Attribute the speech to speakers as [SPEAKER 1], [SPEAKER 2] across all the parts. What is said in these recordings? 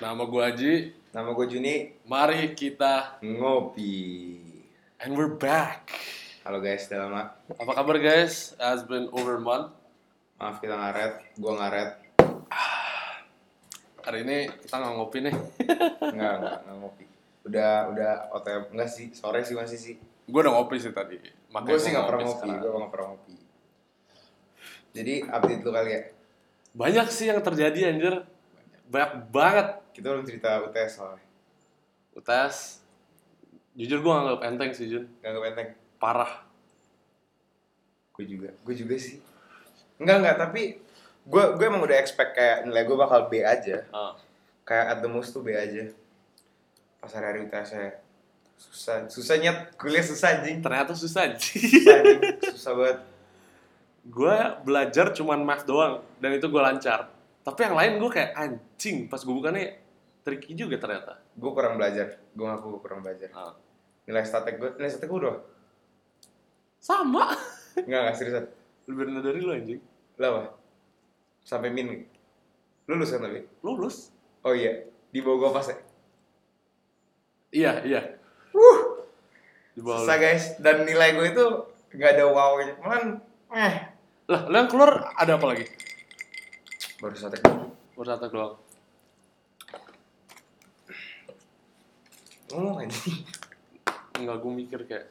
[SPEAKER 1] Nama gue Nah, Haji,
[SPEAKER 2] Nama gue Juni
[SPEAKER 1] mari kita
[SPEAKER 2] Ngopi.
[SPEAKER 1] and we're back.
[SPEAKER 2] Halo guys, udah lama.
[SPEAKER 1] Apa kabar guys? Has been over a month.
[SPEAKER 2] Maaf kita ngaret, gue ngaret.
[SPEAKER 1] Hari ini kita nggak ngopi nih.
[SPEAKER 2] Enggak, enggak, enggak ngopi. Udah, udah OTM. Enggak sih, sore sih masih sih.
[SPEAKER 1] gue udah ngopi sih tadi.
[SPEAKER 2] Gue sih
[SPEAKER 1] gua
[SPEAKER 2] nggak pernah ngopi,
[SPEAKER 1] sekarang.
[SPEAKER 2] gue nggak pernah ngopi. Jadi update dulu kali ya.
[SPEAKER 1] Banyak sih yang terjadi anjir. Banyak banget.
[SPEAKER 2] Kita belum cerita UTS soalnya.
[SPEAKER 1] UTS. Jujur gue nganggap enteng sih Jun.
[SPEAKER 2] Enggak kepenteng.
[SPEAKER 1] Parah.
[SPEAKER 2] Gue juga, gue juga sih. Enggak, enggak, tapi gue gue emang udah expect kayak nilai gue bakal B aja.
[SPEAKER 1] Ah.
[SPEAKER 2] Kayak at the most tuh B aja. Pas hari-hari UTS saya susah, susahnya kuliah susah anjing.
[SPEAKER 1] Ternyata susah anjir.
[SPEAKER 2] Susah, anjing. susah banget.
[SPEAKER 1] gue belajar cuman math doang dan itu gue lancar tapi yang lain gue kayak anjing pas gue bukannya tricky juga ternyata
[SPEAKER 2] gue kurang belajar gue ngaku gue kurang belajar
[SPEAKER 1] Ah.
[SPEAKER 2] nilai statek gue nilai statek gue udah
[SPEAKER 1] sama
[SPEAKER 2] nggak nggak seriusan
[SPEAKER 1] lebih rendah dari lu anjing
[SPEAKER 2] lah apa sampai min lulus kan tapi
[SPEAKER 1] lulus
[SPEAKER 2] oh iya di bawah gue pas ya
[SPEAKER 1] iya iya di bawah
[SPEAKER 2] susah
[SPEAKER 1] lu.
[SPEAKER 2] guys dan nilai gue itu nggak ada wow-nya malah eh
[SPEAKER 1] lah lo yang keluar ada apa lagi
[SPEAKER 2] baru statek
[SPEAKER 1] baru satu doang
[SPEAKER 2] ngomong aja
[SPEAKER 1] nggak gue mikir kayak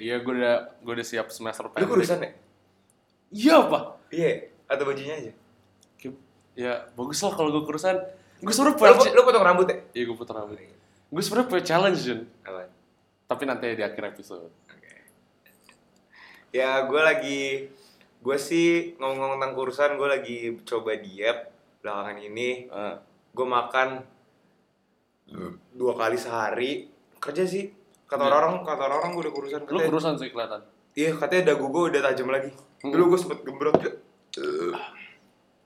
[SPEAKER 1] iya gue udah gue udah siap semester
[SPEAKER 2] lu kurusan ya
[SPEAKER 1] iya apa
[SPEAKER 2] iya atau bajunya aja
[SPEAKER 1] Kayak- ya bagus lah kalau gue kurusan gue sebenernya
[SPEAKER 2] lu,
[SPEAKER 1] punya
[SPEAKER 2] lu potong rambut ya
[SPEAKER 1] iya gue putar rambut gue sebenernya punya challenge Jun.
[SPEAKER 2] apa
[SPEAKER 1] tapi nanti di akhir episode
[SPEAKER 2] ya gue lagi gue sih ngomong-ngomong tentang kurusan gue lagi coba diet belakangan ini
[SPEAKER 1] Ah.
[SPEAKER 2] gue makan dua kali sehari kerja sih kata
[SPEAKER 1] Iya.
[SPEAKER 2] orang kata orang gue udah kurusan
[SPEAKER 1] lu
[SPEAKER 2] katanya
[SPEAKER 1] kurusan sih kelihatan
[SPEAKER 2] iya katanya dagu gue udah tajam lagi
[SPEAKER 1] Hmm.
[SPEAKER 2] dulu gue sempet gembrot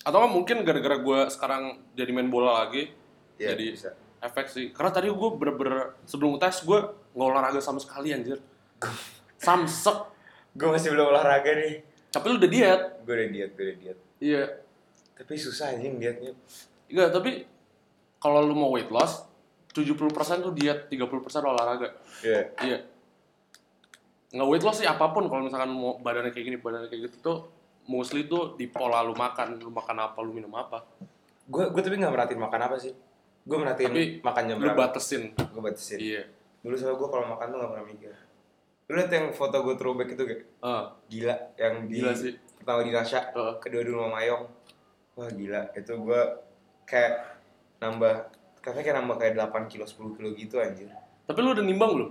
[SPEAKER 1] atau nggak mungkin gara-gara gue sekarang jadi main bola lagi
[SPEAKER 2] Iya,
[SPEAKER 1] jadi
[SPEAKER 2] bisa.
[SPEAKER 1] efek sih karena tadi gue bener-bener sebelum tes gue nggak olahraga sama sekali anjir samsek
[SPEAKER 2] gue masih belum olahraga nih
[SPEAKER 1] tapi lu udah diet
[SPEAKER 2] gue udah diet gue udah diet
[SPEAKER 1] iya
[SPEAKER 2] tapi susah anjing dietnya
[SPEAKER 1] enggak tapi kalau lu mau weight loss 70% tuh diet 30% olahraga
[SPEAKER 2] iya
[SPEAKER 1] iya nggak weight loss sih apapun kalau misalkan mau badannya kayak gini badannya kayak gitu tuh mostly tuh di pola lu makan lu makan apa lu minum apa
[SPEAKER 2] gue gue tapi nggak merhatiin makan apa sih gue merhatiin
[SPEAKER 1] Tapi,
[SPEAKER 2] makan jam
[SPEAKER 1] lu
[SPEAKER 2] berapa
[SPEAKER 1] batesin
[SPEAKER 2] gue batasin
[SPEAKER 1] iya
[SPEAKER 2] dulu soalnya gue kalau makan tuh nggak pernah mikir lu liat yang foto gue throwback itu gak
[SPEAKER 1] Ah,
[SPEAKER 2] gila yang di
[SPEAKER 1] gila sih Oh. Ah.
[SPEAKER 2] pertama di Rasya
[SPEAKER 1] Heeh.
[SPEAKER 2] kedua di rumah Mayong wah gila itu gue kayak nambah katanya kayak nambah kayak 8 kilo 10 kilo gitu anjir
[SPEAKER 1] tapi lu udah nimbang belum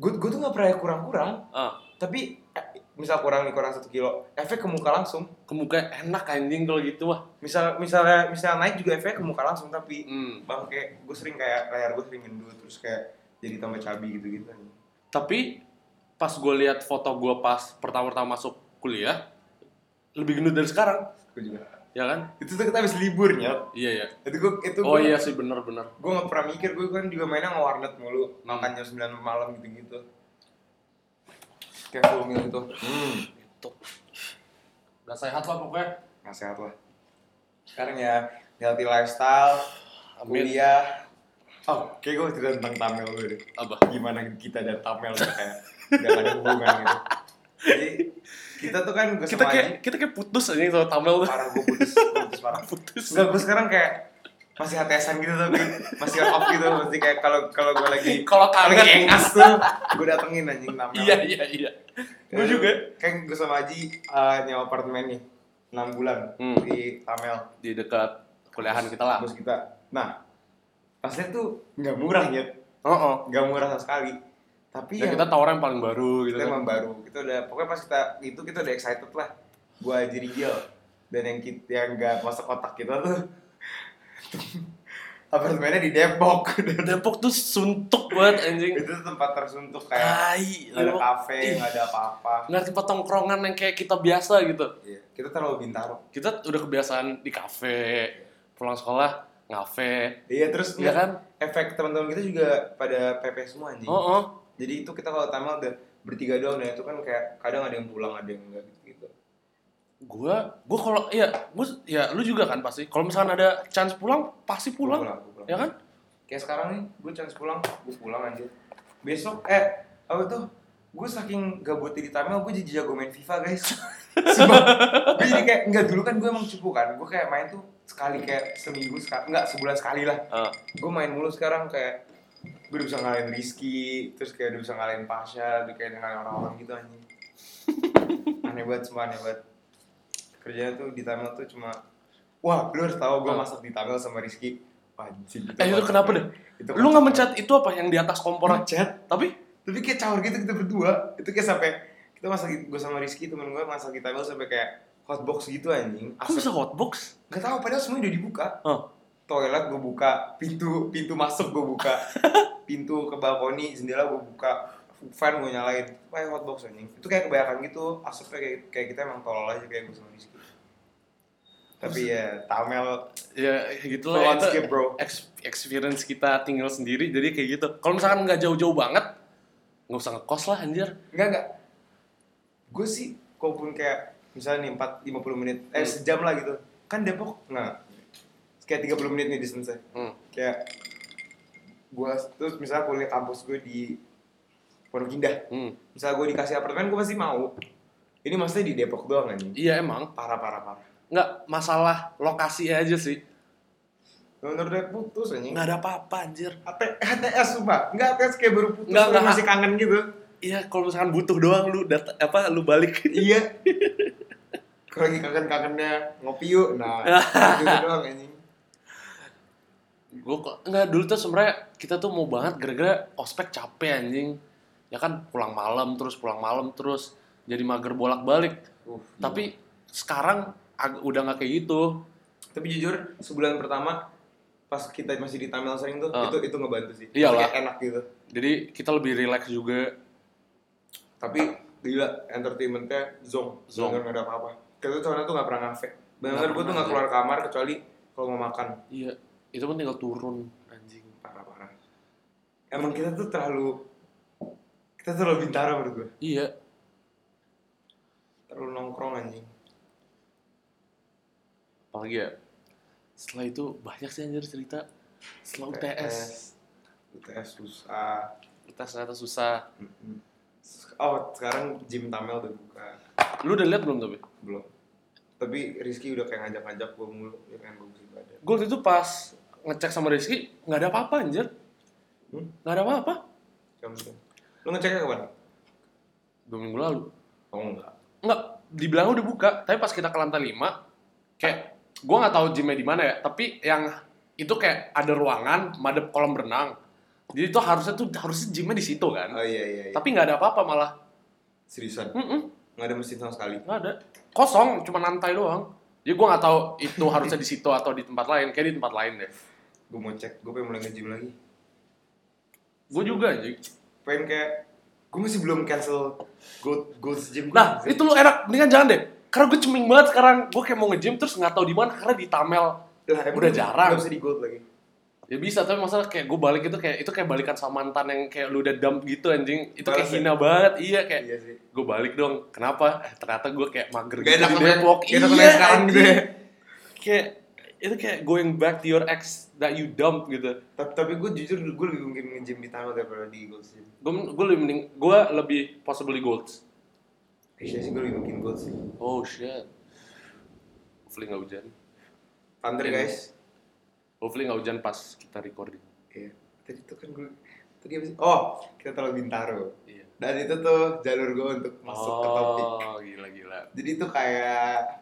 [SPEAKER 2] gue gue tuh nggak pernah kurang-kurang
[SPEAKER 1] ah
[SPEAKER 2] tapi eh, misal kurang nih kurang satu kilo efek ke muka langsung
[SPEAKER 1] ke muka enak anjing kalau gitu wah
[SPEAKER 2] misal misalnya misal naik juga efek ke muka langsung tapi
[SPEAKER 1] Hmm.
[SPEAKER 2] bang kayak gue sering kayak layar gue sering gendut terus kayak jadi tambah cabi gitu gitu anjir.
[SPEAKER 1] tapi pas gue lihat foto gue pas pertama-tama masuk kuliah lebih gendut dari sekarang
[SPEAKER 2] gue juga
[SPEAKER 1] ya kan
[SPEAKER 2] itu tuh kita habis libur nyet
[SPEAKER 1] iya ya
[SPEAKER 2] itu gue itu
[SPEAKER 1] oh
[SPEAKER 2] gua-
[SPEAKER 1] iya sih bener-bener
[SPEAKER 2] gue gak pernah mikir gue kan juga mainnya nge warnet mulu
[SPEAKER 1] Hmm.
[SPEAKER 2] makan jam 9 malam gitu gitu kayak full meal itu hmm.
[SPEAKER 1] itu udah sehat lah pokoknya
[SPEAKER 2] nggak sehat lah sekarang ya healthy lifestyle
[SPEAKER 1] Amin.
[SPEAKER 2] kuliah oh kayak gue cerita tentang Tamel dulu deh
[SPEAKER 1] apa
[SPEAKER 2] gimana kita dan Tamel tuh kayak gak ada hubungan gitu jadi kita tuh kan gue
[SPEAKER 1] kita
[SPEAKER 2] sama
[SPEAKER 1] kayak
[SPEAKER 2] Aji
[SPEAKER 1] kita kayak putus aja sama Tamel tuh
[SPEAKER 2] parah gue putus gua putus parah
[SPEAKER 1] putus
[SPEAKER 2] Enggak, gue sekarang kayak masih HTSan gitu tapi masih on off gitu masih kayak kalau kalau gue lagi
[SPEAKER 1] Kalau kangen.
[SPEAKER 2] lagi engas kan tuh gue datengin anjing namanya
[SPEAKER 1] iya iya iya gue juga
[SPEAKER 2] kan gue sama Aji eh, nyewa apartemen nih 6 bulan
[SPEAKER 1] Hmm.
[SPEAKER 2] di Tamel
[SPEAKER 1] di dekat kuliahan kita lah
[SPEAKER 2] terus kita nah pasnya tuh nggak murah ya
[SPEAKER 1] oh oh
[SPEAKER 2] nggak murah sama sekali tapi
[SPEAKER 1] dan
[SPEAKER 2] yang-
[SPEAKER 1] kita tawaran yang paling baru gitu
[SPEAKER 2] Iya. kita
[SPEAKER 1] kan
[SPEAKER 2] emang baru kita udah pokoknya pas kita itu kita udah excited lah gua aja Rigel dan yang kita yang nggak masuk kotak kita tuh apartemennya di Depok
[SPEAKER 1] Depok tuh suntuk banget anjing
[SPEAKER 2] itu tuh tempat tersuntuk
[SPEAKER 1] Ah,
[SPEAKER 2] kayak
[SPEAKER 1] tai
[SPEAKER 2] nggak ada
[SPEAKER 1] Depok. Ih.
[SPEAKER 2] kafe nggak ada apa-apa
[SPEAKER 1] nggak tempat tongkrongan yang kayak kita biasa gitu
[SPEAKER 2] Iya, kita terlalu bintaro
[SPEAKER 1] kita udah kebiasaan di kafe pulang sekolah ngafe
[SPEAKER 2] iya terus
[SPEAKER 1] Iya kan?
[SPEAKER 2] efek teman-teman kita juga pada PP semua anjing
[SPEAKER 1] oh oh
[SPEAKER 2] jadi itu kita kalau tamal udah bertiga doang dan itu kan kayak kadang ada yang pulang ada yang enggak gitu
[SPEAKER 1] gua gua kalau ya gua ya lu juga kan pasti kalau misalkan ada chance pulang pasti
[SPEAKER 2] Gua
[SPEAKER 1] pulang,
[SPEAKER 2] gua pulang.
[SPEAKER 1] ya kan
[SPEAKER 2] Kayak sekarang nih, gue chance pulang, gue pulang anjir. Besok, eh, apa tuh? Gue saking gabut di Tamil, gue jadi jago main FIFA guys. Sumpah. gue jadi kayak, enggak dulu kan gue emang cupu kan. Gue kayak main tuh sekali kayak seminggu, sekali, enggak sebulan sekali lah.
[SPEAKER 1] Ah,
[SPEAKER 2] Gue main mulu sekarang kayak, gue udah bisa ngalahin Rizky, terus kayak udah bisa ngalahin Pasha, udah kayak ngalahin orang-orang gitu anjing. aneh banget, semua aneh banget. Kerjanya tuh di Tamil tuh cuma, wah lu harus tahu gue masak di Tamil sama Rizky. Anjing,
[SPEAKER 1] eh itu
[SPEAKER 2] mantep
[SPEAKER 1] kenapa
[SPEAKER 2] banget
[SPEAKER 1] deh
[SPEAKER 2] itu
[SPEAKER 1] lu nggak mencet itu apa yang di atas kompor
[SPEAKER 2] chat
[SPEAKER 1] tapi
[SPEAKER 2] tapi kayak caur gitu kita berdua itu kayak sampai kita masak gue sama Rizky temen gue masak di Tamil sampai kayak hotbox gitu anjing
[SPEAKER 1] aku bisa
[SPEAKER 2] asap
[SPEAKER 1] hotbox
[SPEAKER 2] nggak tahu padahal semuanya udah dibuka
[SPEAKER 1] Hah.
[SPEAKER 2] toilet gue buka pintu pintu masuk gue buka pintu ke balkoni jendela gue buka fan gue nyalain kayak hotbox anjing itu kayak kebanyakan gitu asapnya kayak kayak kita emang tolol aja kayak gue sama Rizky tapi ya Tamil
[SPEAKER 1] ya gitu lah itu
[SPEAKER 2] landscape bro
[SPEAKER 1] ex- experience kita tinggal sendiri jadi kayak gitu kalau misalkan nggak jauh-jauh banget nggak usah ngekos lah anjir
[SPEAKER 2] Enggak enggak. Gue sih kalaupun kayak misalnya nih 4 50 menit eh
[SPEAKER 1] Hmm.
[SPEAKER 2] sejam lah gitu. Kan Depok nah kayak 30 menit nih distance
[SPEAKER 1] Hmm.
[SPEAKER 2] Kayak gue terus misalnya kuliah kampus gue di Pondok Indah.
[SPEAKER 1] Hmm.
[SPEAKER 2] Misalnya gue dikasih apartemen gue pasti mau. Ini maksudnya di Depok doang anjing.
[SPEAKER 1] iya emang
[SPEAKER 2] Parah parah parah.
[SPEAKER 1] nggak masalah lokasi aja sih
[SPEAKER 2] Menurut gue putus anjing.
[SPEAKER 1] nggak ada apa-apa anjir
[SPEAKER 2] AT- HTS sumpah. Enggak ATS kayak baru putus
[SPEAKER 1] Nggak,
[SPEAKER 2] tapi
[SPEAKER 1] nggak.
[SPEAKER 2] masih kangen gitu.
[SPEAKER 1] iya kalau misalkan butuh doang lu dat- apa lu balik
[SPEAKER 2] iya kalau lagi kangen-kangennya ngopi yuk nah gitu doang anjing
[SPEAKER 1] gue kok nggak dulu tuh sebenarnya kita tuh mau banget gara-gara ospek capek anjing ya kan pulang malam terus pulang malam terus jadi mager bolak-balik
[SPEAKER 2] Uh,
[SPEAKER 1] tapi sekarang ag- udah nggak kayak gitu
[SPEAKER 2] tapi jujur sebulan pertama pas kita masih di Tamil sering tuh
[SPEAKER 1] Ah.
[SPEAKER 2] itu itu ngebantu sih
[SPEAKER 1] Iyalah.
[SPEAKER 2] Kayak enak gitu
[SPEAKER 1] jadi kita lebih relax juga
[SPEAKER 2] tapi gila entertainmentnya zong
[SPEAKER 1] Zonk.
[SPEAKER 2] Bener nggak ada apa-apa kita tuh soalnya tuh nggak pernah ngafe bener
[SPEAKER 1] Nggak
[SPEAKER 2] gue tuh
[SPEAKER 1] pernah,
[SPEAKER 2] nggak keluar kamar kecuali kalau mau makan
[SPEAKER 1] iya itu pun tinggal turun anjing
[SPEAKER 2] parah-parah emang kita tuh terlalu kita terlalu bintara menurut gue
[SPEAKER 1] iya
[SPEAKER 2] terlalu nongkrong anjing
[SPEAKER 1] apalagi ya setelah itu banyak sih anjir cerita setelah UTS
[SPEAKER 2] UTS susah
[SPEAKER 1] UTS ternyata susah
[SPEAKER 2] Mm-mm. Oh, sekarang gym Tamel udah buka.
[SPEAKER 1] lu udah lihat belum tapi
[SPEAKER 2] Belum. Tapi Rizky udah kayak ngajak-ngajak gue mulu, ya pengen gue mesti badan.
[SPEAKER 1] gue itu pas ngecek sama Rizky nggak ada apa-apa anjir
[SPEAKER 2] Hmm?
[SPEAKER 1] nggak ada apa-apa
[SPEAKER 2] Jam jam. Lu ngeceknya kapan?
[SPEAKER 1] dua minggu lalu
[SPEAKER 2] Oh enggak.
[SPEAKER 1] nggak dibilang udah buka tapi pas kita ke lantai 5 kayak gua nggak tahu gymnya di mana ya tapi yang itu kayak ada ruangan madep kolam renang jadi itu harusnya tuh harusnya gymnya di situ kan
[SPEAKER 2] Oh iya iya iya.
[SPEAKER 1] tapi nggak ada apa-apa malah
[SPEAKER 2] seriusan
[SPEAKER 1] Mm-mm,
[SPEAKER 2] nggak ada mesin sama sekali.
[SPEAKER 1] nggak ada kosong cuma lantai doang jadi gua nggak tahu itu harusnya di situ atau di tempat lain kayak di tempat lain deh
[SPEAKER 2] Gue mau cek, gue pengen mulai nge-gym lagi.
[SPEAKER 1] gue juga anjing
[SPEAKER 2] Pengen kayak gue masih belum cancel go go gym. gua.
[SPEAKER 1] Nah, itu lu enak, mendingan jangan deh. Karena gue ceming banget sekarang, gue kayak mau nge-gym terus nggak tahu di mana karena di Tamel.
[SPEAKER 2] Lah, emang
[SPEAKER 1] udah jarang.
[SPEAKER 2] Gak bisa di gold lagi.
[SPEAKER 1] Ya bisa, tapi masalah kayak gue balik itu kayak itu kayak balikan sama mantan yang kayak lu udah dump gitu anjing. Itu kayak
[SPEAKER 2] Balas ya?
[SPEAKER 1] hina banget. Iya kayak
[SPEAKER 2] Iya sih.
[SPEAKER 1] gue balik dong. Kenapa? Eh, ternyata gue kayak mager gitu
[SPEAKER 2] Gak enak
[SPEAKER 1] di
[SPEAKER 2] sama yang-
[SPEAKER 1] Depok.
[SPEAKER 2] gak enak sama yang sekarang gitu ya.
[SPEAKER 1] anjing. Kayak itu kayak going back to your ex that you dump gitu.
[SPEAKER 2] Tapi, tapi gue jujur gue lebih mungkin nge-gym di Tamel daripada di gold gym.
[SPEAKER 1] Gue gue lebih mending gue lebih possibly golds.
[SPEAKER 2] Kayaknya Iya sih gue lebih mungkin gold sih.
[SPEAKER 1] Oh shit. Hopefully nggak hujan.
[SPEAKER 2] Thunder
[SPEAKER 1] Iya.
[SPEAKER 2] guys.
[SPEAKER 1] Hopefully nggak hujan pas kita recording.
[SPEAKER 2] Iya. Tadi itu kan gue tadi apa sih? Oh, kita terlalu bintaro.
[SPEAKER 1] Iya.
[SPEAKER 2] Dan itu tuh jalur gue untuk masuk ke topik.
[SPEAKER 1] Oh, gila-gila.
[SPEAKER 2] Jadi itu kayak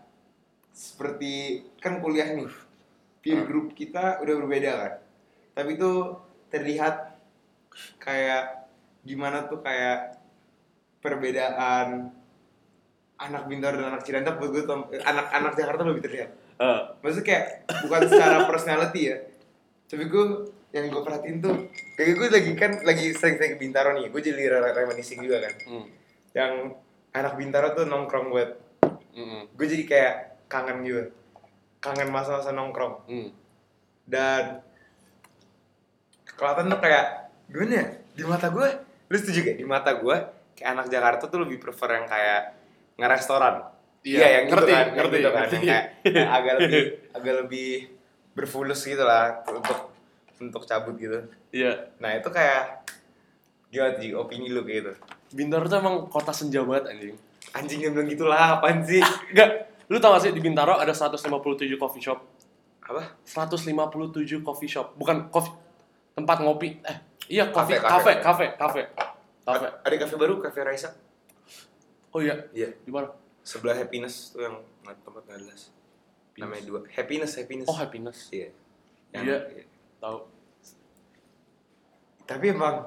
[SPEAKER 2] seperti kan kuliah nih. Peer group kita udah berbeda kan. Tapi itu terlihat kayak gimana tuh kayak perbedaan anak Bintaro dan anak Cilandak buat gue tuh- eh, anak-anak Jakarta lebih terlihat.
[SPEAKER 1] Eh,
[SPEAKER 2] Maksudnya kayak bukan secara personality ya. Tapi gue yang gue perhatiin tuh kayak gue lagi kan lagi sering-sering ke Bintaro nih. Gue jadi re- reminiscing juga kan.
[SPEAKER 1] mm,
[SPEAKER 2] Yang anak Bintaro tuh nongkrong buat
[SPEAKER 1] mm, mm,
[SPEAKER 2] gue jadi kayak kangen gitu. Kangen masa-masa nongkrong
[SPEAKER 1] mm.
[SPEAKER 2] dan kelihatan tuh kayak gimana ya? di mata gue lu setuju gak di mata gue kayak anak Jakarta tuh lebih prefer yang kayak ngerestoran
[SPEAKER 1] Iya,
[SPEAKER 2] Iya, yang
[SPEAKER 1] ngerti,
[SPEAKER 2] gitu kan,
[SPEAKER 1] ngerti,
[SPEAKER 2] yang gitu kan,
[SPEAKER 1] ngerti.
[SPEAKER 2] yang kayak- yang agak lebih agak lebih berfulus gitu lah untuk untuk cabut gitu.
[SPEAKER 1] Iya.
[SPEAKER 2] Nah itu kayak gimana tuh Ji? opini lu kayak gitu.
[SPEAKER 1] Bintaro tuh emang kota senja banget anjing.
[SPEAKER 2] Anjing yang bilang gitulah apaan sih?
[SPEAKER 1] Enggak, lu tau gak sih di Bintaro ada 157 coffee shop.
[SPEAKER 2] Apa?
[SPEAKER 1] 157 coffee shop, bukan coffee tempat ngopi. Eh, iya coffee
[SPEAKER 2] Kafe, kafe.
[SPEAKER 1] kafe kafe kafe. Kafe.
[SPEAKER 2] Ada kafe baru, kafe Raisa.
[SPEAKER 1] Oh iya,
[SPEAKER 2] Iya.
[SPEAKER 1] di mana?
[SPEAKER 2] Sebelah Happiness tuh yang nggak- tempat nggak jelas. Namanya dua. Happiness, Happiness.
[SPEAKER 1] Oh, happiness.
[SPEAKER 2] Iya. Yang-
[SPEAKER 1] Iya. Tahu.
[SPEAKER 2] Tapi emang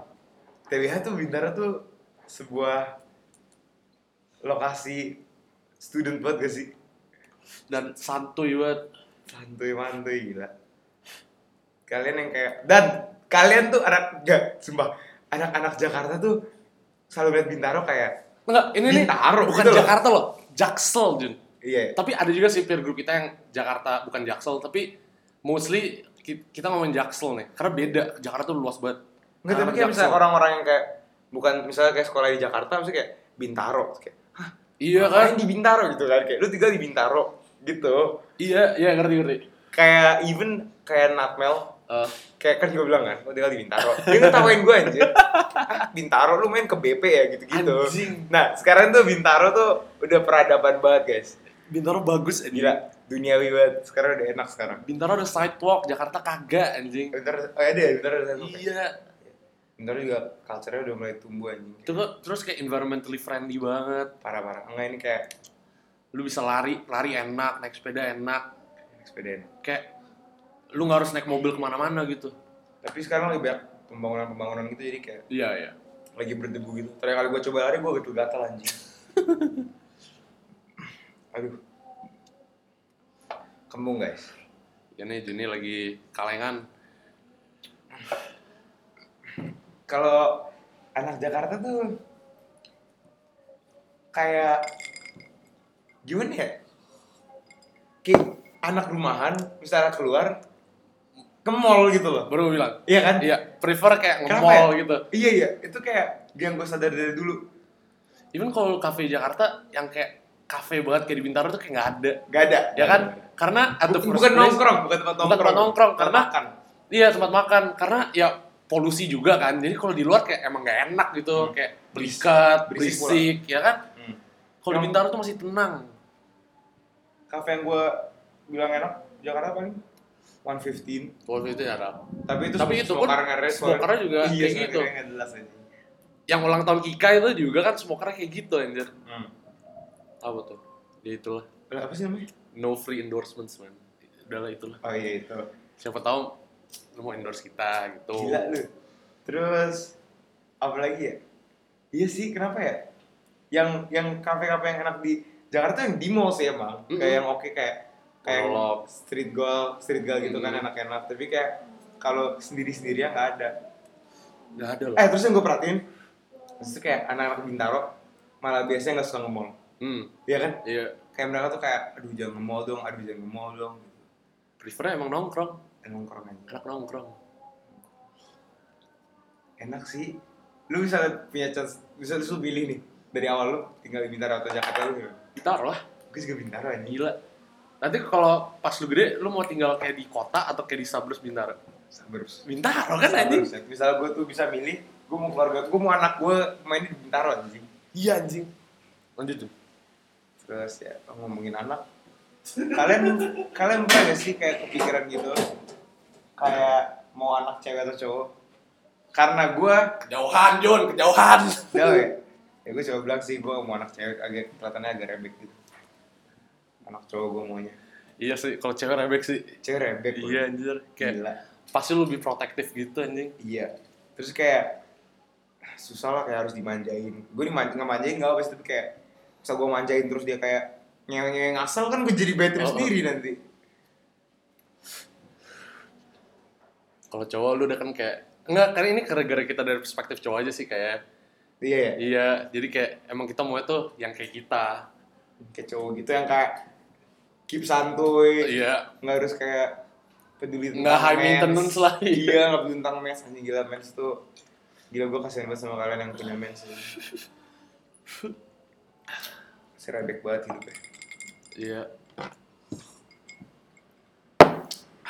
[SPEAKER 2] TBH tuh Bintaro tuh sebuah lokasi student buat gak sih?
[SPEAKER 1] Dan santuy banget.
[SPEAKER 2] Santuy-mantuy gila. Kalian yang kayak dan kalian tuh anak gak sumpah anak-anak Jakarta tuh selalu lihat Bintaro kayak
[SPEAKER 1] Enggak, ini nih
[SPEAKER 2] Bintaro,
[SPEAKER 1] bukan
[SPEAKER 2] gitu loh.
[SPEAKER 1] Jakarta loh. Jaksel, Jun.
[SPEAKER 2] iya
[SPEAKER 1] Tapi ada juga sih peer group kita yang Jakarta bukan Jaksel, tapi mostly ki- kita ngomongin Jaksel nih. Karena beda, Jakarta tuh luas banget.
[SPEAKER 2] Nggak, tapi
[SPEAKER 1] Anak
[SPEAKER 2] kayak
[SPEAKER 1] Jaksel.
[SPEAKER 2] misalnya orang-orang yang kayak bukan misalnya kayak sekolah di Jakarta maksudnya kayak Bintaro kayak
[SPEAKER 1] Iya kan?
[SPEAKER 2] ngapain di Bintaro gitu kan kayak lu tinggal di Bintaro gitu
[SPEAKER 1] Iya, iya ngerti ngerti.
[SPEAKER 2] kayak even kayak Natmel
[SPEAKER 1] Eh,
[SPEAKER 2] kayak kan gue bilang kan gue tinggal di Bintaro dia ngetawain gue anjir ah, Bintaro lu main ke BP ya gitu-gitu
[SPEAKER 1] Anjing.
[SPEAKER 2] nah sekarang tuh Bintaro tuh udah peradaban banget guys
[SPEAKER 1] Bintaro bagus anjing.
[SPEAKER 2] gila duniawi banget sekarang udah enak sekarang
[SPEAKER 1] Bintaro ada sidewalk, Jakarta kagak anjing.
[SPEAKER 2] Bintaro oh ada ya Bintaro ada satu.
[SPEAKER 1] Iya.
[SPEAKER 2] Bintaro juga culture-nya udah mulai tumbuh anjing
[SPEAKER 1] Itu kok- terus kayak environmentally friendly banget.
[SPEAKER 2] parah-parah enggak ini kayak
[SPEAKER 1] Lu bisa lari, lari enak, naik sepeda enak.
[SPEAKER 2] sepeda enak.
[SPEAKER 1] Kayak lu nggak harus naik mobil kemana-mana gitu.
[SPEAKER 2] tapi sekarang lebih banyak pembangunan-pembangunan gitu jadi kayak
[SPEAKER 1] Iya iya.
[SPEAKER 2] lagi berdebu gitu terakhir kali gue coba lari gue gatal-gatal anjing aduh kembung guys
[SPEAKER 1] Ini Juni lagi kalengan.
[SPEAKER 2] kalau anak Jakarta tuh kayak gimana ya? Kayak anak rumahan misalnya keluar ke mall gitu loh.
[SPEAKER 1] Baru gue bilang.
[SPEAKER 2] Iya kan?
[SPEAKER 1] Iya, prefer kayak
[SPEAKER 2] Kenapa
[SPEAKER 1] nge-mall
[SPEAKER 2] ya?
[SPEAKER 1] gitu.
[SPEAKER 2] Iya iya, itu kayak yang gue sadar dari dulu.
[SPEAKER 1] Even kalau kafe Jakarta yang kayak kafe banget kayak di Bintaro tuh kayak nggak ada.
[SPEAKER 2] Gak ada.
[SPEAKER 1] Ya kan? Karena at the
[SPEAKER 2] Bu-
[SPEAKER 1] first
[SPEAKER 2] bukan
[SPEAKER 1] place-
[SPEAKER 2] nongkrong, bukan tempat
[SPEAKER 1] Bukan
[SPEAKER 2] nongkrong.
[SPEAKER 1] tempat nongkrong,
[SPEAKER 2] Tempat
[SPEAKER 1] karena-
[SPEAKER 2] makan.
[SPEAKER 1] Iya tempat makan karena ya polusi juga kan. Jadi kalau di luar kayak emang gak enak gitu,
[SPEAKER 2] Hmm.
[SPEAKER 1] kayak berikat,
[SPEAKER 2] Berisik
[SPEAKER 1] berisik,
[SPEAKER 2] pula.
[SPEAKER 1] ya kan?
[SPEAKER 2] Hmm.
[SPEAKER 1] Kalau di
[SPEAKER 2] Emang-
[SPEAKER 1] Bintaro tuh masih tenang.
[SPEAKER 2] Kafe yang gue bilang enak Jakarta paling 115.
[SPEAKER 1] Kalau itu ya ada.
[SPEAKER 2] Tapi itu
[SPEAKER 1] Tapi itu pun
[SPEAKER 2] smoker-nya suara-
[SPEAKER 1] smoker-nya juga
[SPEAKER 2] iya,
[SPEAKER 1] kayak gitu.
[SPEAKER 2] smoker-nya nggak jelas aja.
[SPEAKER 1] Yang ulang tahun Kika itu juga kan smokernya kayak gitu anjir.
[SPEAKER 2] Hmm.
[SPEAKER 1] Apa tuh? Ya itulah.
[SPEAKER 2] Lah, Apa sih namanya?
[SPEAKER 1] No free endorsements man. Udahlah itulah.
[SPEAKER 2] Oh iya itu.
[SPEAKER 1] Siapa tahu lu mau endorse kita gitu.
[SPEAKER 2] Gila lu. Terus apa lagi ya? Iya sih, kenapa ya? Yang yang kafe-kafe yang enak di Jakarta yang di mall sih emang.
[SPEAKER 1] Mm-mm.
[SPEAKER 2] Kayak yang oke kayak kayak yang
[SPEAKER 1] Monolog.
[SPEAKER 2] street girl, street girl gitu kan
[SPEAKER 1] Mm-mm.
[SPEAKER 2] enak-enak. Tapi kayak kalau sendiri-sendirian nggak ada.
[SPEAKER 1] Gak ada loh.
[SPEAKER 2] Eh terus yang gue perhatiin, terus tuh kayak anak-anak Bintaro malah biasanya nggak suka nge-mall.
[SPEAKER 1] Hmm,
[SPEAKER 2] Iya kan?
[SPEAKER 1] iya.
[SPEAKER 2] Kayak mereka tuh kayak aduh jangan nge-mall dong, aduh jangan nge-mall dong.
[SPEAKER 1] Prefernya emang nongkrong,
[SPEAKER 2] Emang kurang aja.
[SPEAKER 1] enak nongkrong.
[SPEAKER 2] enak sih lu bisa punya chance bisa lu pilih nih dari awal lu tinggal di Bintaro atau Jakarta lu gimana?
[SPEAKER 1] Bintaro lah,
[SPEAKER 2] gue juga Bintaro anjing
[SPEAKER 1] gila. Nanti kalau pas lu gede, lu mau tinggal kayak di kota atau kayak di suburbs Bintaro?
[SPEAKER 2] suburbs
[SPEAKER 1] Bintaro kan anjing?
[SPEAKER 2] Suburbs, ya. misalnya gue tuh bisa milih gue mau keluarga gue mau anak gue main di Bintaro anjing
[SPEAKER 1] Iya anjing. Lanjut tuh.
[SPEAKER 2] terus ya ngomongin anak kalian kalian pernah gak sih kayak kepikiran gitu kayak mau anak cewek atau cowok karena gue
[SPEAKER 1] Kejauhan Jun, kejauhan.
[SPEAKER 2] Jauh ya? Ya gue coba bilang sih, gue mau anak cewek agak kelihatannya agak rebek gitu Anak cowok gue maunya
[SPEAKER 1] iya sih, kalau cewek rebek sih.
[SPEAKER 2] Cewek rebek loh.
[SPEAKER 1] Iya anjir, kayak
[SPEAKER 2] Gila
[SPEAKER 1] pasti lu lebih protektif gitu anjing.
[SPEAKER 2] Iya Terus kayak ah, Susah lah kayak harus dimanjain Gue diman nggak manjain gak apa-apa sih, tapi kayak Misal gue manjain terus dia kayak Nyewe-nyewe ngasal kan gue jadi bad
[SPEAKER 1] Oh,
[SPEAKER 2] trip
[SPEAKER 1] oh.
[SPEAKER 2] sendiri nanti
[SPEAKER 1] Kalau cowok lu udah kan kayak Enggak, karena ini gara-gara kita dari perspektif cowok aja sih kayak
[SPEAKER 2] Iya ya
[SPEAKER 1] Iya, jadi kayak emang kita mau tuh yang kayak kita
[SPEAKER 2] Kayak cowok gitu yang kayak Keep santuy
[SPEAKER 1] Iya,
[SPEAKER 2] nggak harus kayak peduli
[SPEAKER 1] Nggak high
[SPEAKER 2] mens.
[SPEAKER 1] maintenance lah, iya.
[SPEAKER 2] iya nggak peduli tentang mens anjing gila mens tuh gila gue kasihan banget sama kalian yang punya mens sih rebek banget hidupnya
[SPEAKER 1] Iya.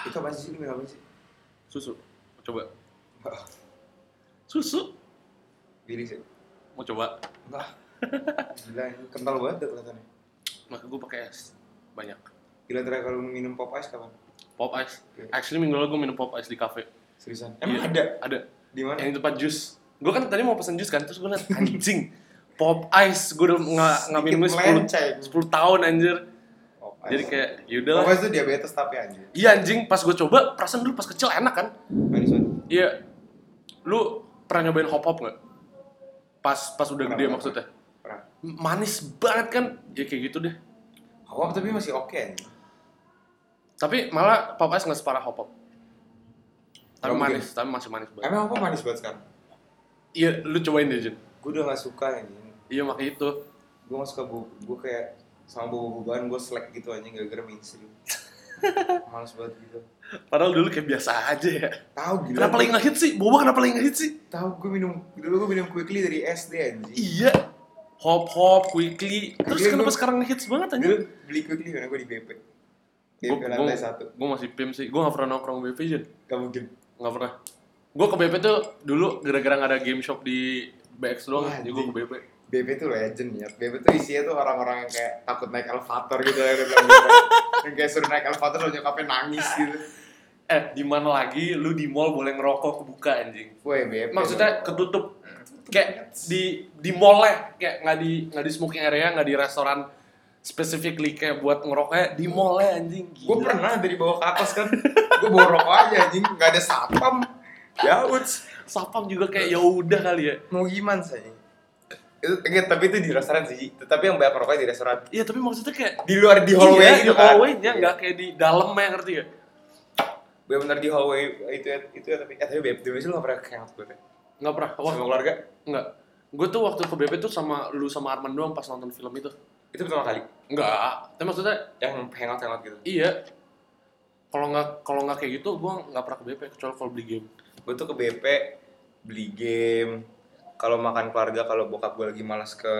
[SPEAKER 2] Itu apa sih? Lu minum apa sih?
[SPEAKER 1] Susu. Mau coba. Susu.
[SPEAKER 2] Bilis ya?
[SPEAKER 1] Mau coba.
[SPEAKER 2] Enggak. Gila, ini kental banget tuh kelihatannya.
[SPEAKER 1] Maka gue pakai es banyak.
[SPEAKER 2] Gila terakhir kalau lu minum Popeyes kapan?
[SPEAKER 1] Pop ice.
[SPEAKER 2] Oke.
[SPEAKER 1] Actually minggu lalu gue minum pop ice di cafe.
[SPEAKER 2] Seriusan?
[SPEAKER 1] Iya,
[SPEAKER 2] Emang ada?
[SPEAKER 1] Ada.
[SPEAKER 2] Di mana?
[SPEAKER 1] Yang di tempat jus. Gue kan tadi mau pesen jus kan, terus gue liat anjing. Pop ice, gue udah nggak nggak
[SPEAKER 2] Sedikit
[SPEAKER 1] minum 10,
[SPEAKER 2] melenceng.
[SPEAKER 1] 10 tahun anjir.
[SPEAKER 2] Popeyes.
[SPEAKER 1] Jadi kayak yaudah lah.
[SPEAKER 2] Popeyes itu diabetes tapi anjir.
[SPEAKER 1] Iya anjing, pas gue coba, perasaan dulu pas kecil enak kan?
[SPEAKER 2] Manis banget.
[SPEAKER 1] Iya. Lu pernah nyobain hop hop nggak? Pas pas udah
[SPEAKER 2] Pernah,
[SPEAKER 1] gede
[SPEAKER 2] pernah.
[SPEAKER 1] maksudnya.
[SPEAKER 2] Pernah.
[SPEAKER 1] Manis banget kan? Ya kayak gitu deh.
[SPEAKER 2] Hawap tapi masih oke. anjir.
[SPEAKER 1] Tapi malah pop ice nggak separah hop hop. Tapi
[SPEAKER 2] Nggak mungkin.
[SPEAKER 1] manis, tapi masih manis banget.
[SPEAKER 2] Emang apa manis banget sekarang?
[SPEAKER 1] Iya, lu cobain deh Jun.
[SPEAKER 2] Gue udah gak suka anjing.
[SPEAKER 1] Iya makanya itu.
[SPEAKER 2] Gue gak suka boba. Gue kayak sama boba-bobaan gue selek gitu anjing gara-gara mainstream. Males banget gitu.
[SPEAKER 1] Padahal dulu kayak biasa aja ya.
[SPEAKER 2] Tahu gila.
[SPEAKER 1] Kenapa lagi nggak hit sih? Boba kenapa lagi nggak hit sih?
[SPEAKER 2] Tahu gue minum dulu gue minum quickly dari SD anjing.
[SPEAKER 1] Iya. Hop hop, quickly. Terus
[SPEAKER 2] Iya,
[SPEAKER 1] kenapa
[SPEAKER 2] gua-
[SPEAKER 1] sekarang hits banget aja?
[SPEAKER 2] Dulu beli quickly karena gue di BP. BP lantai satu.
[SPEAKER 1] Gue masih pim sih. Gue nggak pernah nongkrong BP Jun.
[SPEAKER 2] Gak mungkin.
[SPEAKER 1] Nggak pernah. Gue ke BP tuh dulu gara-gara nggak ada game shop di BX doang.
[SPEAKER 2] Wah,
[SPEAKER 1] jadi gue ke
[SPEAKER 2] anjing.
[SPEAKER 1] BP.
[SPEAKER 2] BP tuh legend ya. BP tuh isinya tuh orang-orang yang kayak takut naik elevator gitu ya. udah bilang gitu. yang kayak suruh naik elevator lo nyokapnya nangis gitu.
[SPEAKER 1] Eh, di mana lagi lu di mall boleh ngerokok kebuka anjing.
[SPEAKER 2] Woi BP.
[SPEAKER 1] Maksudnya ketutup kayak di di mall lah, kayak nggak di nggak di smoking area, nggak di restoran specifically kayak buat ngerokoknya di mall lah anjing.
[SPEAKER 2] Gue
[SPEAKER 1] Gila.
[SPEAKER 2] pernah dari bawah ke atas kan. gue bawa rokok aja anjing. Gak ada satpam. Ya uts.
[SPEAKER 1] Sapam juga kayak ya udah kali ya.
[SPEAKER 2] Mau gimana sih? Itu, enggak, tapi itu di restoran sih. Tetapi yang banyak rokoknya di restoran.
[SPEAKER 1] Iya, tapi maksudnya kayak
[SPEAKER 2] Di luar di hallway
[SPEAKER 1] iya,
[SPEAKER 2] gitu
[SPEAKER 1] di
[SPEAKER 2] kan.
[SPEAKER 1] hallway-nya
[SPEAKER 2] Iya.
[SPEAKER 1] nggak kayak di dalam ya ngerti ya?
[SPEAKER 2] bener-bener di hallway itu ya, itu ya tapi eh tapi beb dulu lu gak pernah hangout gue deh
[SPEAKER 1] Nggak pernah. Wah,
[SPEAKER 2] sama keluarga
[SPEAKER 1] nggak. Gue tuh waktu ke BP tuh sama lu sama Arman doang pas nonton film itu.
[SPEAKER 2] itu pertama kali
[SPEAKER 1] Enggak. Tapi maksudnya
[SPEAKER 2] yang hangout hangout gitu
[SPEAKER 1] Iya. Kalau nggak kalau nggak kayak gitu, gue nggak pernah ke BP kecuali kalau beli game.
[SPEAKER 2] gue tuh ke BP beli game kalau makan keluarga kalau bokap gue lagi malas ke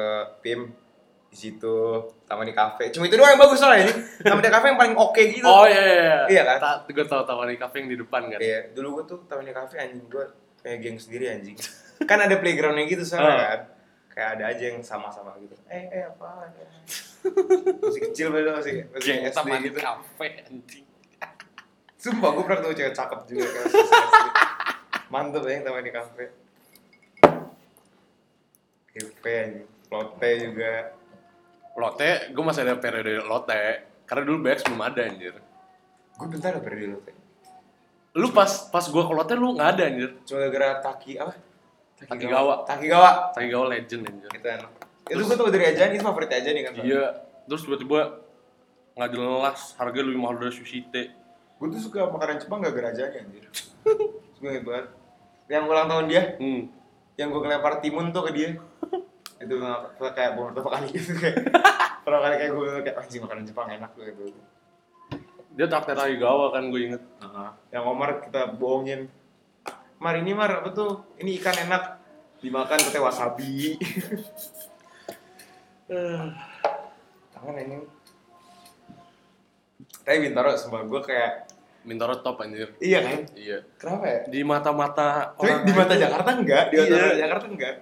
[SPEAKER 2] PIM di situ taman di kafe cuma itu doang yang bagus soalnya ini taman di kafe yang paling oke gitu
[SPEAKER 1] Oh iya iya.
[SPEAKER 2] Iya kan?
[SPEAKER 1] gue tahu tahu di kafe yang di depan kan.
[SPEAKER 2] Iya, dulu gue tuh taman di kafe anjing gue kayak geng sendiri anjing kan ada playgroundnya gitu
[SPEAKER 1] Ah.
[SPEAKER 2] soalnya kan kayak ada aja yang sama-sama gitu eh eh apa masih kecil padahal masih masih
[SPEAKER 1] Geng
[SPEAKER 2] SD
[SPEAKER 1] taman
[SPEAKER 2] gitu
[SPEAKER 1] kafe anjing.
[SPEAKER 2] Sumpah gue pernah ketemu cewek cakep juga kan. Mantep ya yang teman di kafe. Kafe anjing. Lotte juga.
[SPEAKER 1] Lotte, gue masih ada periode Lotte. Karena dulu BX belum ada anjir.
[SPEAKER 2] Gue bentar lah pergi di Lotte.
[SPEAKER 1] Lu pas pas gue ke Lotte lu nggak ada anjir.
[SPEAKER 2] Cuma gara-gara Taki apa?
[SPEAKER 1] Takigawa.
[SPEAKER 2] Takigawa.
[SPEAKER 1] Tapi gaul legend anjir.
[SPEAKER 2] Itu enak. Gitu kan. Itu gue tuh dari aja itu favorit aja nih kan.
[SPEAKER 1] Iya. Terus tiba-tiba nggak jelas harga lebih mahal dari sushi teh.
[SPEAKER 2] Gue tuh suka makanan Jepang gak gara aja anjir. Gue hebat. Yang ulang tahun dia,
[SPEAKER 1] Hmm.
[SPEAKER 2] yang gue ngelempar timun tuh ke dia. itu bener- kayak gue pertama kali gitu kayak pertama kali kayak gue kayak anjing makanan Jepang enak tuh gitu.
[SPEAKER 1] Dia traktir Takigawa kan gue inget.
[SPEAKER 2] Yang Omar kita bohongin. Mar ini Mar apa tuh? Ini ikan enak dimakan pakai wasabi. Eh. Tangan ini. Tapi Bintaro sumpah gue kayak
[SPEAKER 1] Mintaro top anjir.
[SPEAKER 2] iya kan?
[SPEAKER 1] Iya.
[SPEAKER 2] Kenapa ya?
[SPEAKER 1] Di mata-mata
[SPEAKER 2] Tapi
[SPEAKER 1] orang
[SPEAKER 2] di mata
[SPEAKER 1] lain-
[SPEAKER 2] Jakarta enggak, di mata
[SPEAKER 1] Iya.
[SPEAKER 2] Jakarta enggak.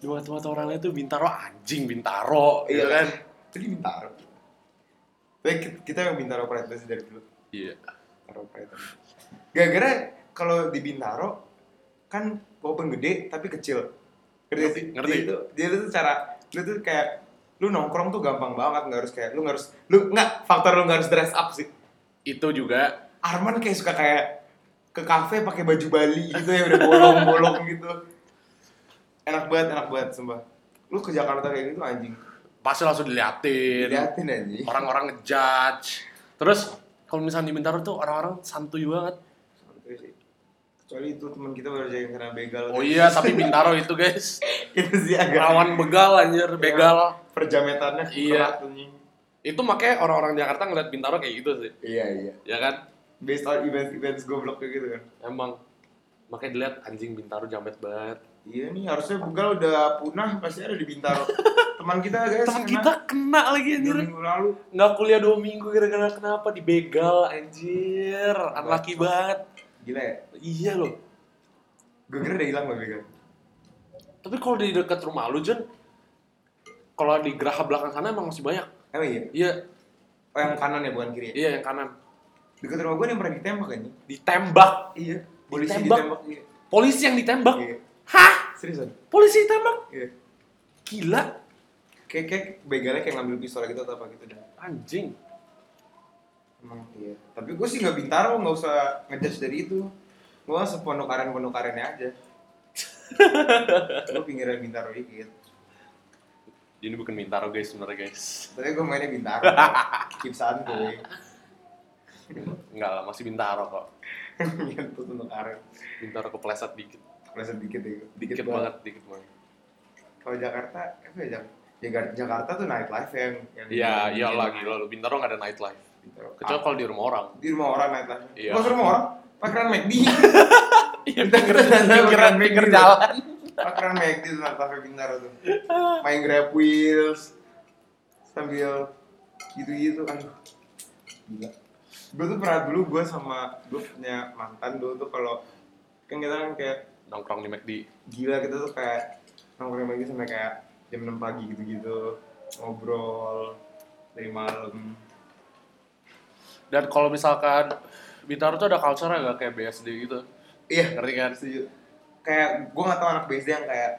[SPEAKER 1] di mata-mata orang lain tuh bintaro anjing bintaro gitu kan
[SPEAKER 2] Iya Itu di Bintaro. Tapi ki- kita yang Bintaro Pride sih dari dulu.
[SPEAKER 1] iya
[SPEAKER 2] Bintaro Pride. Gara-gara kalau di Bintaro kan walaupun gede tapi kecil. Ngerti sih?
[SPEAKER 1] Ngerti.
[SPEAKER 2] Dia itu, dia itu cara lu tuh kayak lu nongkrong tuh gampang banget nggak harus kayak lu nggak harus lu nggak faktor lu nggak harus dress up sih.
[SPEAKER 1] itu juga
[SPEAKER 2] Arman kayak suka kayak ke kafe pakai baju Bali gitu ya udah bolong-bolong gitu. Enak banget, enak banget sumpah. Lu ke Jakarta kayak gitu anjing.
[SPEAKER 1] pasti langsung diliatin
[SPEAKER 2] Liatin anjing.
[SPEAKER 1] orang-orang ngejudge terus kalau misalnya di bintaro tuh orang-orang santuy banget
[SPEAKER 2] Santuy sih. Kecuali itu teman kita baru aja yang kena begal.
[SPEAKER 1] oh iya tapi bintaro itu guys
[SPEAKER 2] itu sih agak
[SPEAKER 1] rawan begal anjir
[SPEAKER 2] Iya.
[SPEAKER 1] begal
[SPEAKER 2] perjametannya
[SPEAKER 1] Iya.
[SPEAKER 2] keras, anjing.
[SPEAKER 1] itu makanya orang-orang Jakarta ngeliat bintaro kayak gitu sih
[SPEAKER 2] Iya, iya.
[SPEAKER 1] ya kan
[SPEAKER 2] Based on events events goblok kayak gitu kan.
[SPEAKER 1] emang Makanya dilihat anjing Bintaro jamet banget.
[SPEAKER 2] Iya nih harusnya Bugal udah punah pasti ada di Bintaro. Teman kita guys.
[SPEAKER 1] Teman
[SPEAKER 2] kena
[SPEAKER 1] kita kena lagi
[SPEAKER 2] dua
[SPEAKER 1] anjir.
[SPEAKER 2] minggu lalu.
[SPEAKER 1] Iya, Nggak kuliah dua minggu gara-gara kenapa dibegal anjir. Unlucky banget.
[SPEAKER 2] Gila ya.
[SPEAKER 1] Iya loh.
[SPEAKER 2] Gue kira udah hilang Mbak Bugal.
[SPEAKER 1] Tapi kalau di dekat rumah lu, Jun, kalau di geraha belakang sana emang masih banyak.
[SPEAKER 2] Emang iya.
[SPEAKER 1] Iya,
[SPEAKER 2] Oh yang kanan ya bukan kiri. Ya?
[SPEAKER 1] iya yang kanan.
[SPEAKER 2] Dekat rumah gue yang pernah ditembak kan?
[SPEAKER 1] Ditembak.
[SPEAKER 2] Iya. Polisi
[SPEAKER 1] Ditembak?
[SPEAKER 2] ditembak. Iya.
[SPEAKER 1] Polisi yang ditembak.
[SPEAKER 2] Iya.
[SPEAKER 1] Hah?
[SPEAKER 2] Seriusan?
[SPEAKER 1] Polisi ditembak?
[SPEAKER 2] Iya.
[SPEAKER 1] Gila.
[SPEAKER 2] Kayak kayak begalnya kayak ngambil pistol gitu atau apa gitu dah.
[SPEAKER 1] Anjing.
[SPEAKER 2] Emang iya. Tapi gue sih nggak bintaro, nggak usah ngejudge dari itu. Gue sepondokaran pondokarannya aja. gue pinggiran bintaro dikit.
[SPEAKER 1] Ini bukan Bintaro guys sebenarnya guys.
[SPEAKER 2] Tapi gue mainnya bintaro. ya. Keep santuy.
[SPEAKER 1] Enggak lah, masih Bintaro kok.
[SPEAKER 2] Yang tuh pondokaran.
[SPEAKER 1] Bintaro kepleset dikit.
[SPEAKER 2] Rasa dikit ya.
[SPEAKER 1] Dikit, banget, dikit banget.
[SPEAKER 2] Kalau Jakarta, apa ya Jak- Jaga- Jakarta tuh nightlife yang yang
[SPEAKER 1] Iya,
[SPEAKER 2] yang-
[SPEAKER 1] iya
[SPEAKER 2] yang-
[SPEAKER 1] lagi lo Bintaro nggak ada nightlife.
[SPEAKER 2] Bintaro.
[SPEAKER 1] Kecuali kalau di rumah orang.
[SPEAKER 2] Ah, di rumah orang nightlife.
[SPEAKER 1] Iya.
[SPEAKER 2] Masuk rumah orang? Pakeran McD.
[SPEAKER 1] Iya,
[SPEAKER 2] pinggir-
[SPEAKER 1] pikiran pinggir
[SPEAKER 2] pinggir
[SPEAKER 1] jalan.
[SPEAKER 2] Pakeran McD tuh nightlife Bintaro tuh. Main Grab Wheels sambil gitu-gitu aduh. Gila. Gue tuh pernah dulu gue sama gue punya mantan dulu tuh kalau kan kita kan kayak
[SPEAKER 1] Nongkrong di McD.
[SPEAKER 2] gila kita tuh kayak nongkrong lagi sampai kayak jam 6 pagi gitu-gitu ngobrol dari malam
[SPEAKER 1] Dan kalau misalkan Bintaro tuh ada culture agak kayak BSD gitu.
[SPEAKER 2] iya
[SPEAKER 1] Ngerti kan?
[SPEAKER 2] setuju kayak gue gak tau anak BSD yang kayak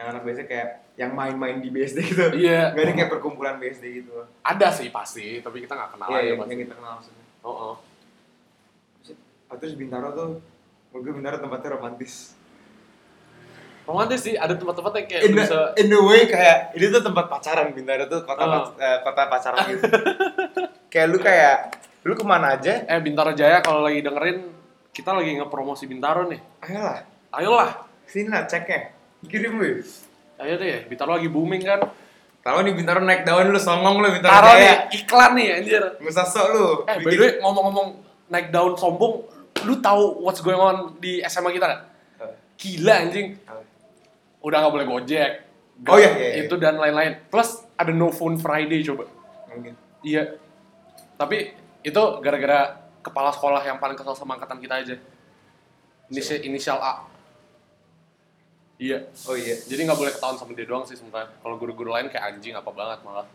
[SPEAKER 2] yang anak BSD kayak yang main-main di BSD gitu
[SPEAKER 1] Iya.
[SPEAKER 2] gak ada kayak perkumpulan BSD gitu
[SPEAKER 1] Ada sih pasti, tapi kita nggak kenal
[SPEAKER 2] iya
[SPEAKER 1] aja
[SPEAKER 2] yang,
[SPEAKER 1] pasti.
[SPEAKER 2] yang kita kenal maksudnya
[SPEAKER 1] Oh, oh.
[SPEAKER 2] Ah, terus Bintaro tuh mungkin Bintaro tempatnya romantis
[SPEAKER 1] Romantis sih, ada tempat-tempat yang kayak
[SPEAKER 2] in
[SPEAKER 1] lu
[SPEAKER 2] the,
[SPEAKER 1] bisa
[SPEAKER 2] in the way kayak ini tuh tempat pacaran Bintaro tuh kota
[SPEAKER 1] Oh.
[SPEAKER 2] pac- eh, kota pacaran gitu kayak lu kayak lu kemana aja
[SPEAKER 1] eh Bintaro Jaya kalau lagi dengerin kita lagi ngepromosi Bintaro nih.
[SPEAKER 2] ayolah
[SPEAKER 1] Ayolah.
[SPEAKER 2] Sini lah ceknya. Kirim lu.
[SPEAKER 1] Ayo deh, Bintaro lagi booming kan.
[SPEAKER 2] Taruh nih Bintaro naik daun lu songong lu Bintaro.
[SPEAKER 1] Taro
[SPEAKER 2] Jaya.
[SPEAKER 1] nih iklan nih anjir.
[SPEAKER 2] Nggak usah sok lu.
[SPEAKER 1] Eh, by
[SPEAKER 2] Bikin-
[SPEAKER 1] the way, ngomong-ngomong naik daun sombong, lu tahu what's going on di SMA kita nggak?
[SPEAKER 2] Eh,
[SPEAKER 1] Gila anjing, udah nggak boleh gojek.
[SPEAKER 2] Oh, iya, iya, iya.
[SPEAKER 1] Itu dan lain-lain. Plus ada no phone Friday coba.
[SPEAKER 2] Mungkin.
[SPEAKER 1] Iya. Tapi itu gara-gara kepala sekolah yang paling kesel sama angkatan kita aja. Inisial, inisial A. Iya.
[SPEAKER 2] Oh iya.
[SPEAKER 1] Jadi nggak boleh ketahuan sama dia doang sih sebenarnya. Kalau guru-guru lain kayak anjing apa banget malah.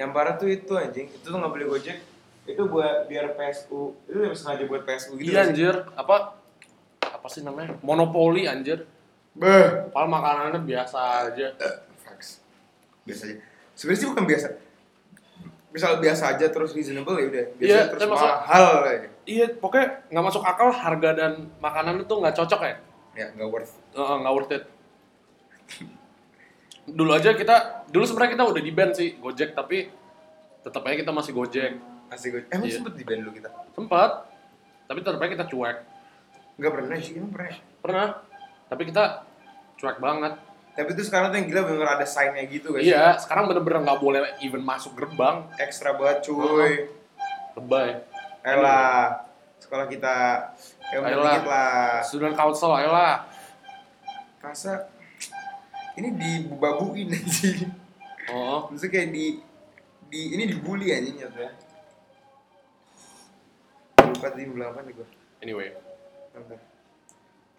[SPEAKER 2] Yang parah tuh itu anjing. Itu tuh nggak boleh gojek. Itu buat biar PSU. Itu yang sengaja buat PSU gitu.
[SPEAKER 1] iya
[SPEAKER 2] nggak sih?
[SPEAKER 1] anjir, apa apa sih namanya? Monopoli anjir.
[SPEAKER 2] Beh.
[SPEAKER 1] Padahal makanannya biasa aja.
[SPEAKER 2] Facts. Biasa aja. Sebenarnya sih bukan biasa. Misal biasa aja terus reasonable ya udah. Biasa
[SPEAKER 1] Iya,
[SPEAKER 2] terus
[SPEAKER 1] tapi maksud-
[SPEAKER 2] mahal. ya.
[SPEAKER 1] Iya, pokoknya nggak masuk akal harga dan makanan itu nggak cocok ya.
[SPEAKER 2] Ya nggak worth.
[SPEAKER 1] Eh, Nggak worth it. Dulu aja kita, dulu sebenarnya kita udah di ban sih Gojek, tapi tetap aja kita masih Gojek.
[SPEAKER 2] Asli gojek. Emang
[SPEAKER 1] Iya.
[SPEAKER 2] sempet di band lu kita?
[SPEAKER 1] Sempat, tapi tetap aja kita cuek.
[SPEAKER 2] Nggak pernah sih, emang pernah.
[SPEAKER 1] Pernah, tapi kita cuek banget.
[SPEAKER 2] Tapi itu sekarang tuh yang gila bener ada sign-nya gitu guys.
[SPEAKER 1] Iya, sekarang bener-bener nggak boleh even masuk gerbang.
[SPEAKER 2] Ekstra banget cuy.
[SPEAKER 1] Oh. Lebay.
[SPEAKER 2] Elah, sekolah kita ya udah
[SPEAKER 1] Ayolah.
[SPEAKER 2] dikit lah.
[SPEAKER 1] Student council, ayolah.
[SPEAKER 2] Rasa ini dibabuin anjing.
[SPEAKER 1] Oh,
[SPEAKER 2] Maksudnya kayak di di ini dibully anjing nyatanya. Lupa tadi bilang apa nih gua.
[SPEAKER 1] anyway.
[SPEAKER 2] Bentar.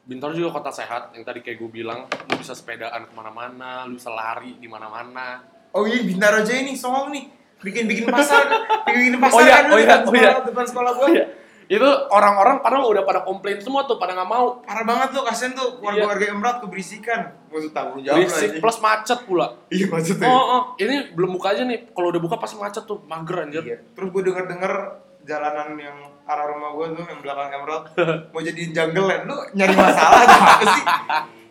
[SPEAKER 1] Bintaro juga kota sehat yang tadi kayak gue bilang lu bisa sepedaan kemana-mana, lu bisa lari di mana-mana.
[SPEAKER 2] Oh iya Bintaro aja ini songong nih. Bikin-bikin pasar, bikin
[SPEAKER 1] Oh
[SPEAKER 2] pasar
[SPEAKER 1] iya,
[SPEAKER 2] kan
[SPEAKER 1] oh iya,
[SPEAKER 2] depan
[SPEAKER 1] oh iya.
[SPEAKER 2] sekolah- depan sekolah gua.
[SPEAKER 1] Itu orang-orang padahal udah pada komplain semua tuh pada nggak mau.
[SPEAKER 2] Parah banget tuh kasihan tuh keluarga-keluarga Emrat keberisikan. Maksud tanggung jawab lah
[SPEAKER 1] Iya. Berisik
[SPEAKER 2] anjing.
[SPEAKER 1] plus macet pula.
[SPEAKER 2] Ya, Iya maksudnya.
[SPEAKER 1] Oh, oh, ini belum buka aja nih. Kalau udah buka pasti macet tuh, mager anjir.
[SPEAKER 2] Iya. Terus gue denger denger jalanan yang arah rumah gue tuh yang belakang Emerald mau jadi jungle land. Lu nyari masalah atau apa sih?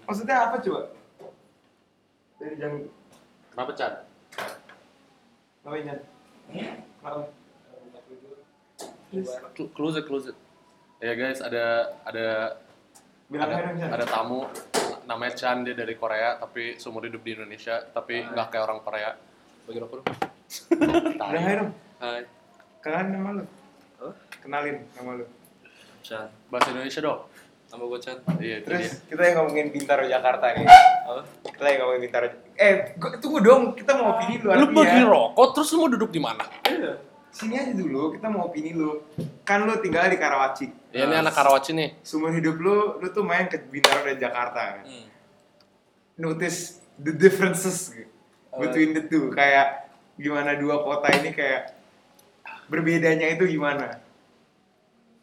[SPEAKER 2] Maksudnya apa coba? Dari jungle
[SPEAKER 1] Kenapa, Chan?
[SPEAKER 2] namanya?
[SPEAKER 1] Iya.
[SPEAKER 2] Apa?
[SPEAKER 1] Cl- Close it, close it. Ya guys, ada ada
[SPEAKER 2] Bilang
[SPEAKER 1] ada,
[SPEAKER 2] aja dong, Chan.
[SPEAKER 1] ada tamu namanya Chan dia dari Korea tapi seumur hidup di Indonesia tapi nggak kayak orang Korea. Bagi rokok dong.
[SPEAKER 2] Bilang aja dong.
[SPEAKER 1] Hai,
[SPEAKER 2] Kenalin nama lu. Kenalin nama lu.
[SPEAKER 1] Chan. Bahasa Indonesia dong.
[SPEAKER 3] nama gue chat
[SPEAKER 1] Iya, itu dia.
[SPEAKER 2] Terus kita yang ngomongin Bintaro Jakarta nih.
[SPEAKER 3] apa
[SPEAKER 2] Kita yang ngomongin Bintaro. Eh, gua- tunggu dong, kita mau opini dulu
[SPEAKER 1] Lu
[SPEAKER 2] artinya.
[SPEAKER 1] bagi rokok, terus lu mau duduk di mana?
[SPEAKER 2] Sini aja dulu, kita mau opini lu. Kan lu tinggal di Karawaci.
[SPEAKER 1] Ya, ini
[SPEAKER 3] Nah.
[SPEAKER 1] anak Karawaci nih.
[SPEAKER 2] Seumur hidup lu, lu tuh main ke Bintaro dan Jakarta. Kan?
[SPEAKER 3] hmm.
[SPEAKER 2] notice the differences gitu.
[SPEAKER 1] Oh, iya.
[SPEAKER 2] between the two kayak gimana dua kota ini kayak berbedanya itu gimana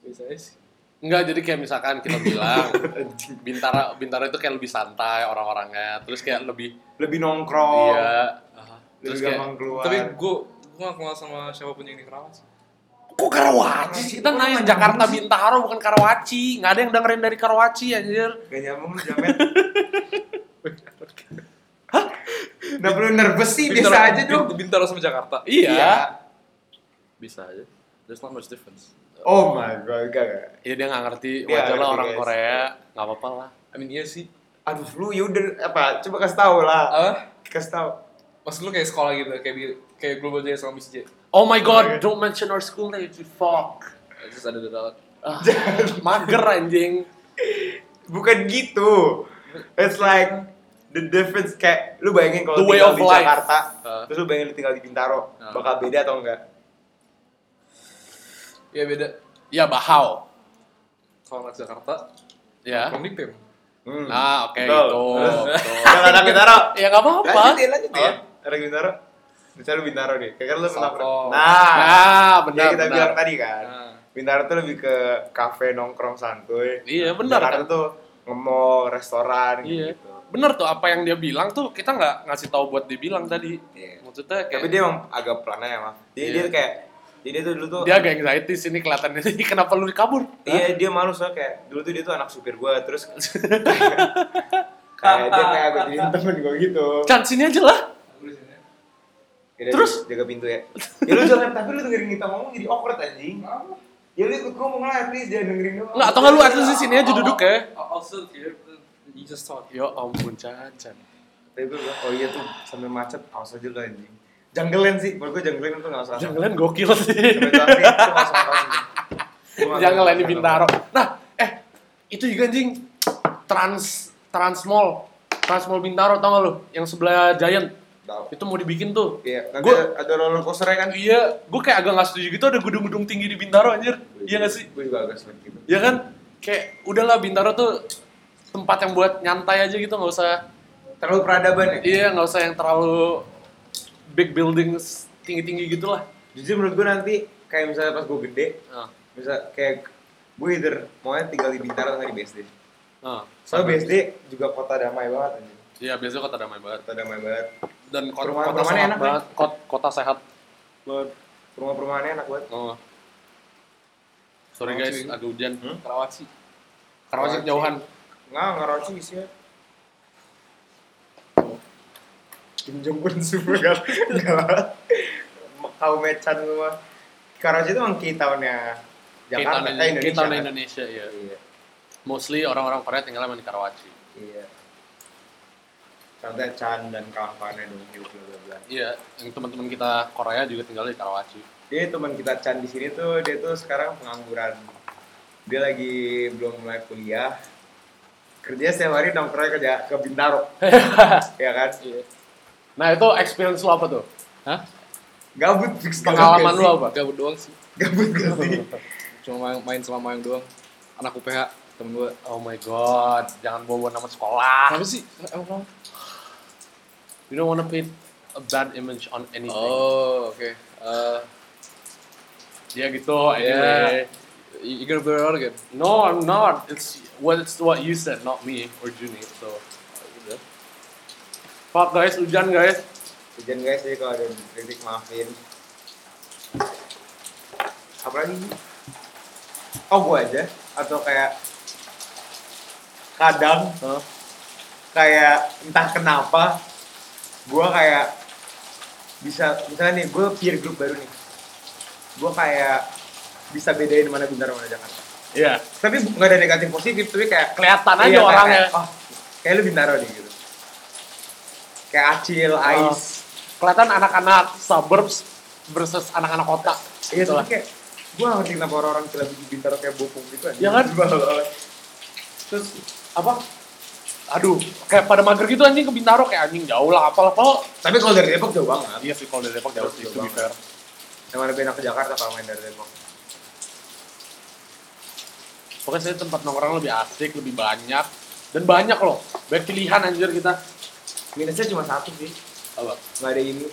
[SPEAKER 3] biasanya sih
[SPEAKER 1] Enggak, jadi kayak misalkan kita bilang Bintara Bintara itu kayak lebih santai orang-orangnya, terus kayak lebih
[SPEAKER 2] lebih nongkrong
[SPEAKER 1] iya.
[SPEAKER 3] Aha.
[SPEAKER 2] lebih
[SPEAKER 1] Terus kayak-
[SPEAKER 2] gampang keluar
[SPEAKER 3] tapi gue gue gak kenal sama siapapun yang di Keramas
[SPEAKER 1] Kok Karawaci sih? Kita nanya Jakarta Bintaro bukan Karawaci. Nggak ada yang dengerin dari Karawaci anjir.
[SPEAKER 2] gak nyambung lu jamet Nggak perlu nervous sih, biasa aja dong.
[SPEAKER 3] Bin- Bintaro sama Jakarta
[SPEAKER 1] Iya.
[SPEAKER 3] bisa aja there's not much difference
[SPEAKER 2] Oh my god, gak, gak.
[SPEAKER 1] Iya dia nggak ngerti.
[SPEAKER 2] Dia
[SPEAKER 1] Wajar lah
[SPEAKER 2] nggak ngerti,
[SPEAKER 1] orang
[SPEAKER 2] guys.
[SPEAKER 1] Korea. Nggak apa-apa lah.
[SPEAKER 3] I mean iya sih
[SPEAKER 2] Aduh, lu yaudah apa? Coba kasih tahu
[SPEAKER 1] Oh.
[SPEAKER 2] lah.
[SPEAKER 3] apa
[SPEAKER 2] Kasih tahu.
[SPEAKER 3] maksud lu kayak sekolah gitu kayak bi- kayak global jaya sama BCJ
[SPEAKER 1] Oh my
[SPEAKER 2] Oke.
[SPEAKER 1] god, don't mention our school name, you fuck.
[SPEAKER 3] terus ada dadat
[SPEAKER 1] Ah, mager anjing.
[SPEAKER 2] Bukan gitu. It's like the difference kayak lu bayangin kalau
[SPEAKER 1] The way
[SPEAKER 2] tinggal
[SPEAKER 1] of
[SPEAKER 2] di
[SPEAKER 1] life.
[SPEAKER 2] Jakarta,
[SPEAKER 3] Uh.
[SPEAKER 2] terus lu bayangin lu tinggal di Bintaro,
[SPEAKER 3] Uh.
[SPEAKER 2] bakal beda atau enggak?
[SPEAKER 3] ya beda
[SPEAKER 1] Ya bahau.
[SPEAKER 3] kalau anak Jakarta
[SPEAKER 1] Ya.
[SPEAKER 3] orang Pem
[SPEAKER 2] Hmm.
[SPEAKER 1] Nah, oke
[SPEAKER 2] Betul.
[SPEAKER 1] itu.
[SPEAKER 2] Terus,
[SPEAKER 1] Betul.
[SPEAKER 2] Kalau anak Bintaro,
[SPEAKER 1] Ya nggak apa-apa.
[SPEAKER 2] lanjut deh, lanjut deh.
[SPEAKER 3] Apa?
[SPEAKER 2] Anak Bintaro, misalnya lu Bintaro nih, kayak kan lu pernah
[SPEAKER 3] Sopo.
[SPEAKER 2] Nah,
[SPEAKER 1] Nah, benar.
[SPEAKER 2] yang kita
[SPEAKER 1] benar. Ah.
[SPEAKER 2] bilang tadi kan,
[SPEAKER 3] Nah.
[SPEAKER 2] Bintaro tuh lebih ke kafe nongkrong santuy.
[SPEAKER 1] Iya, benar
[SPEAKER 2] Jakarta
[SPEAKER 1] kan?
[SPEAKER 2] tuh nge-mall, restoran
[SPEAKER 1] Iya.
[SPEAKER 2] gitu.
[SPEAKER 1] Bener tuh apa yang dia bilang tuh kita nggak ngasih tahu buat dia bilang tadi.
[SPEAKER 2] Iya.
[SPEAKER 1] Maksudnya kayak
[SPEAKER 2] Tapi dia emang agak pelan aja, mah. Dia
[SPEAKER 1] Iya.
[SPEAKER 2] dia tuh kayak jadi dia tuh dulu tuh
[SPEAKER 1] dia agak anxiety sini kelihatannya. Jadi kenapa lu kabur?
[SPEAKER 2] Iya dia malu soalnya kayak dulu tuh dia tuh anak supir gue terus kayak dia kayak gue jadiin temen gue gitu.
[SPEAKER 1] Chan sini aja lah.
[SPEAKER 2] Yaudah,
[SPEAKER 1] Terus?
[SPEAKER 2] jaga pintu ya. Ya lu jangan tapi lu dengerin kita ngomong jadi awkward anjing. Ya lu ikut ngomong lah at least jangan dengerin doang.
[SPEAKER 1] Nggak, atau nggak lu at least di sini aja duduk ya.
[SPEAKER 3] also here you just talk
[SPEAKER 1] Ya ampun Chan, Chan.
[SPEAKER 2] Tapi gue bilang oh iya tuh sambil macet awas aja lu anjing. Junglean sih, menurut gue junglean itu nggak usah.
[SPEAKER 1] Jangan gokil sih.
[SPEAKER 2] Sambil tapi itu nggak usah tahu sih. Gua nggak
[SPEAKER 1] Jangan
[SPEAKER 2] tahu.
[SPEAKER 1] lain di Bintaro. Nah, eh itu juga anjing Trans Trans Mall. Trans Mall Bintaro tau gak lu? Yang sebelah Giant.
[SPEAKER 2] Tahu.
[SPEAKER 1] Itu mau dibikin tuh.
[SPEAKER 2] Iya, nanti
[SPEAKER 1] Gua-
[SPEAKER 2] ada- ada roller coaster kan?
[SPEAKER 1] Iya, gue kayak agak gak setuju gitu ada gedung-gedung tinggi di Bintaro anjir. Iya gak sih?
[SPEAKER 2] Gue juga agak sulit gitu.
[SPEAKER 1] Ya kan? Kayak udahlah Bintaro tuh tempat yang buat nyantai aja gitu nggak usah
[SPEAKER 2] Terlalu peradaban ya?
[SPEAKER 1] iya nggak usah yang terlalu big buildings tinggi-tinggi gitu lah.
[SPEAKER 2] Jujur menurut gue nanti kayak misalnya pas gue gede,
[SPEAKER 1] Ah,
[SPEAKER 2] bisa kayak gue either maunya tinggal di Bintaro atau di BSD.
[SPEAKER 1] ah.
[SPEAKER 2] Soalnya BSD juga kota damai banget anjing.
[SPEAKER 1] Iya, biasanya kota damai banget
[SPEAKER 2] Kota damai banget.
[SPEAKER 1] dan kota,
[SPEAKER 2] Perumahan-
[SPEAKER 1] kota
[SPEAKER 2] perumahannya
[SPEAKER 1] sehat
[SPEAKER 2] enak,
[SPEAKER 1] banget, kot- kota sehat.
[SPEAKER 2] Buat Rumah-perumahannya enak banget.
[SPEAKER 1] Oh. Sorry
[SPEAKER 3] Karawaci.
[SPEAKER 1] guys, agak hujan.
[SPEAKER 2] Hmm?
[SPEAKER 3] Karawaci
[SPEAKER 1] Karawaci
[SPEAKER 2] Karawaci.
[SPEAKER 1] kejauhan.
[SPEAKER 2] Nggak, nggak ya. roci isinya. Kim Jong Un super gak Kau mecan semua. Karawaci itu emang key-townnya Jakarta,
[SPEAKER 1] Kita
[SPEAKER 2] eh,
[SPEAKER 1] Indonesia,
[SPEAKER 2] Indonesia.
[SPEAKER 1] Indonesia,
[SPEAKER 2] kan?
[SPEAKER 1] Indonesia ya.
[SPEAKER 2] Iya.
[SPEAKER 1] Mostly orang-orang Korea tinggal emang di Karawaci.
[SPEAKER 2] Iya. Contohnya Chan dan kawan-kawannya dong, bla bla bla.
[SPEAKER 1] Iya, yang teman-teman kita Korea juga tinggal di Karawaci.
[SPEAKER 2] dia teman kita Chan di sini tuh dia tuh sekarang pengangguran dia lagi belum mulai kuliah kerja setiap hari nongkrong kerja ke Bintaro ya kan
[SPEAKER 1] Nah itu experience lo apa tuh?
[SPEAKER 3] Hah?
[SPEAKER 2] gabut fix ya gabut
[SPEAKER 1] Pengalaman lo
[SPEAKER 2] gak sih?
[SPEAKER 1] apa?
[SPEAKER 3] gabut doang sih
[SPEAKER 2] gabut gak sih
[SPEAKER 3] cuma main, main sama Mayang doang anak UPH temen gue
[SPEAKER 1] Oh my god, jangan bawa nama sekolah.
[SPEAKER 3] kenapa sih emang kenapa?
[SPEAKER 1] You don't wanna paint a bad image on anything.
[SPEAKER 3] oh oke Eh,
[SPEAKER 1] Dia gitu, anyway.
[SPEAKER 3] you, you gonna blur it out again
[SPEAKER 1] No, I'm not. It's what it's what you said, not me or Juni. So, fuck guys, hujan guys.
[SPEAKER 2] hujan guys jadi kalau ada kritik maafin apa lagi oh gua aja atau kayak kadang
[SPEAKER 1] Huh?
[SPEAKER 2] kayak entah kenapa gue kayak bisa misalnya nih gue peer group baru nih gue kayak bisa bedain mana Bintaro mana Jakarta
[SPEAKER 1] Iya.
[SPEAKER 2] tapi bu- nggak ada negatif positif tapi kayak Iya,
[SPEAKER 1] Kelihatan aja
[SPEAKER 2] kayak-
[SPEAKER 1] orangnya.
[SPEAKER 2] kayak, oh, kayak lu Bintaro nih gitu kayak Acil,
[SPEAKER 1] Oh.
[SPEAKER 2] Ais
[SPEAKER 1] Kelihatan anak-anak suburbs versus anak-anak kota.
[SPEAKER 2] iya
[SPEAKER 1] Gitu
[SPEAKER 2] tapi
[SPEAKER 1] lah.
[SPEAKER 2] kayak gue kan. ngerti kenapa orang-orang cila bintaro kayak bopong gitu aja
[SPEAKER 1] Iya kan?
[SPEAKER 2] Sebel.
[SPEAKER 1] terus apa aduh kayak pada mager gitu anjing ke Bintaro kayak anjing jauh lah apalah kalau
[SPEAKER 2] Tapi kalau dari Depok jauh banget.
[SPEAKER 1] iya sih kalau dari Depok jauh sih itu be fair
[SPEAKER 2] Yang mana lebih enak ke Jakarta kalau main dari Depok.
[SPEAKER 1] pokoknya saya tempat nongkrong lebih asik lebih banyak dan banyak loh banyak pilihan anjir kita
[SPEAKER 2] Minusnya cuma satu sih.
[SPEAKER 1] apa
[SPEAKER 2] Nggak ada ini.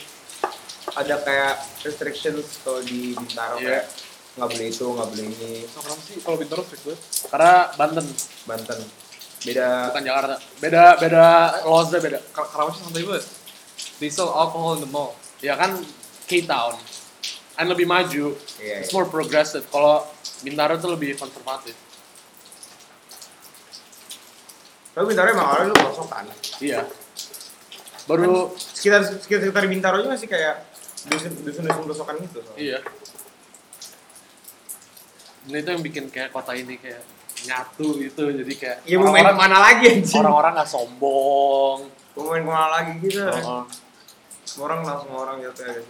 [SPEAKER 2] Ada kayak restrictions kalau di Bintaro
[SPEAKER 1] Iya.
[SPEAKER 2] kayak nggak boleh itu, nggak boleh ini.
[SPEAKER 1] nongkrong sih kalau Bintaro strict banget karena Banten
[SPEAKER 2] Banten. Beda
[SPEAKER 1] bukan Jakarta beda beda lawsnya beda
[SPEAKER 3] Kar- Karawaci santai banget. They sell alcohol in the mall.
[SPEAKER 1] ya kan K Town and lebih maju
[SPEAKER 2] Iya,
[SPEAKER 1] it's
[SPEAKER 2] iya.
[SPEAKER 1] more progressive kalau Bintaro tuh lebih konservatif
[SPEAKER 2] Tapi Bintaro emang awalnya lu kosong kan.
[SPEAKER 1] iya baru
[SPEAKER 2] Sekitar sekitar, sekitar Bintaro aja masih kayak dusun dusun dusun kosokan gitu. soalnya.
[SPEAKER 1] iya dan itu yang bikin kayak kota ini kayak nyatu gitu jadi kayak
[SPEAKER 2] Iya mau main
[SPEAKER 1] orang-orang
[SPEAKER 2] kemana lagi anjing?
[SPEAKER 1] orang-orang nggak sombong Uh-huh.
[SPEAKER 2] Mau main kemana lagi gitu?
[SPEAKER 1] Heeh.
[SPEAKER 2] Semua orang langsung semua orang gitu ya.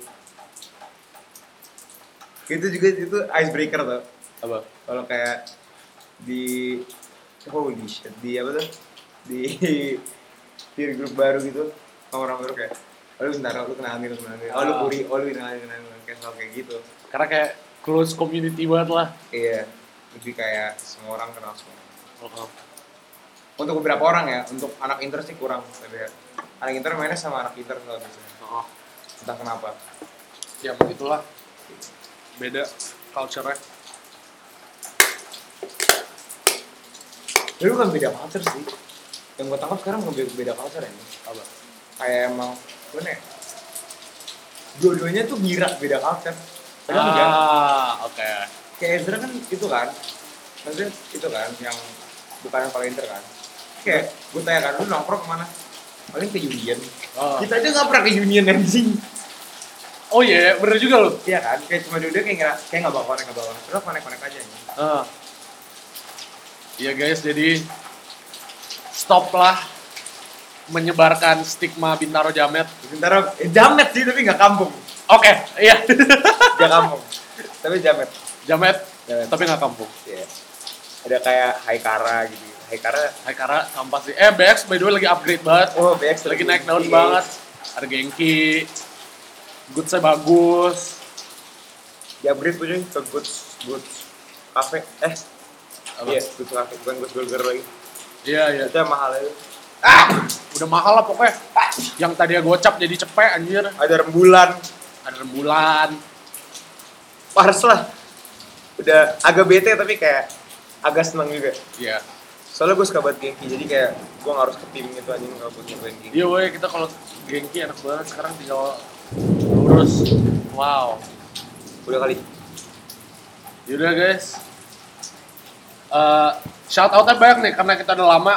[SPEAKER 2] Itu juga itu icebreaker tuh.
[SPEAKER 1] apa
[SPEAKER 2] kalau kayak di holy shit di apa tuh di peer group baru gitu sama orang baru kayak oh lu bentar lu kenalin lu kenalin oh lu
[SPEAKER 1] Ah.
[SPEAKER 2] kuri oh lu kenalin kenalin kenalin. kayak selalu kayak gitu
[SPEAKER 1] karena kayak close community banget lah
[SPEAKER 2] iya jadi kayak semua orang kenal semua
[SPEAKER 1] Heeh.
[SPEAKER 2] untuk beberapa orang ya untuk anak inter sih kurang tapi ya, anak inter mainnya sama anak inter kalau biasanya
[SPEAKER 1] Heeh.
[SPEAKER 2] entah kenapa
[SPEAKER 1] ya begitulah beda culture-nya
[SPEAKER 2] tapi bukan beda culture sih yang gue tangkap sekarang bukan beda, beda culture ya ini.
[SPEAKER 1] apa
[SPEAKER 2] kayak emang gue nih dua-duanya tuh gira beda culture Padahal enggak.
[SPEAKER 1] ah oke
[SPEAKER 2] kayak Ezra kan itu kan maksudnya itu kan yang bukan yang paling inter kan kayak gue tanya kan lu nongkrong kemana paling ke Union
[SPEAKER 1] Ah.
[SPEAKER 2] kita aja nggak pernah ke Union anjing
[SPEAKER 1] oh iya bener juga loh
[SPEAKER 2] iya kan kayak cuma duduk kayak nggak kayak nggak bawa konek nggak bawa terus konek konek aja anjing
[SPEAKER 1] Ah. Iya guys, jadi stoplah menyebarkan stigma Bintaro Jamet.
[SPEAKER 2] sebentar eh, jamet sih tapi nggak kampung
[SPEAKER 1] Oke, iya.
[SPEAKER 2] nggak kampung tapi jamet
[SPEAKER 1] Jamet,
[SPEAKER 2] Jamet.
[SPEAKER 1] tapi nggak kampung.
[SPEAKER 2] Iya. ada kayak Haikara gitu Haikara
[SPEAKER 1] Hai Kara, sampah sih. Eh, BX by the way lagi upgrade banget.
[SPEAKER 2] oh BX
[SPEAKER 1] Lagi naik daun banget. Ada Genki. Good saya bagus.
[SPEAKER 2] Jabrit iya. punya ke Goods Goods Cafe eh
[SPEAKER 1] Apa?
[SPEAKER 2] iya Goods Cafe bukan Goods Burger lagi
[SPEAKER 1] Iya, iya.
[SPEAKER 2] itu yang mahal ya. itu
[SPEAKER 1] Udah mahal lah pokoknya. Yang tadi gocap jadi cepet anjir.
[SPEAKER 2] ada rembulan
[SPEAKER 1] Ada rembulan.
[SPEAKER 2] pars lah udah agak bete tapi kayak agak seneng juga
[SPEAKER 1] Iya.
[SPEAKER 2] soalnya gue suka banget Genki jadi kayak gue nggak harus ke tim gitu anjing kalau gue nyobain Genki
[SPEAKER 1] Iya woi kita kalau gengki enak banget sekarang tinggal lurus. Wow.
[SPEAKER 2] udah kali
[SPEAKER 1] Yaudah guys. Eh shout outnya banyak nih karena kita udah lama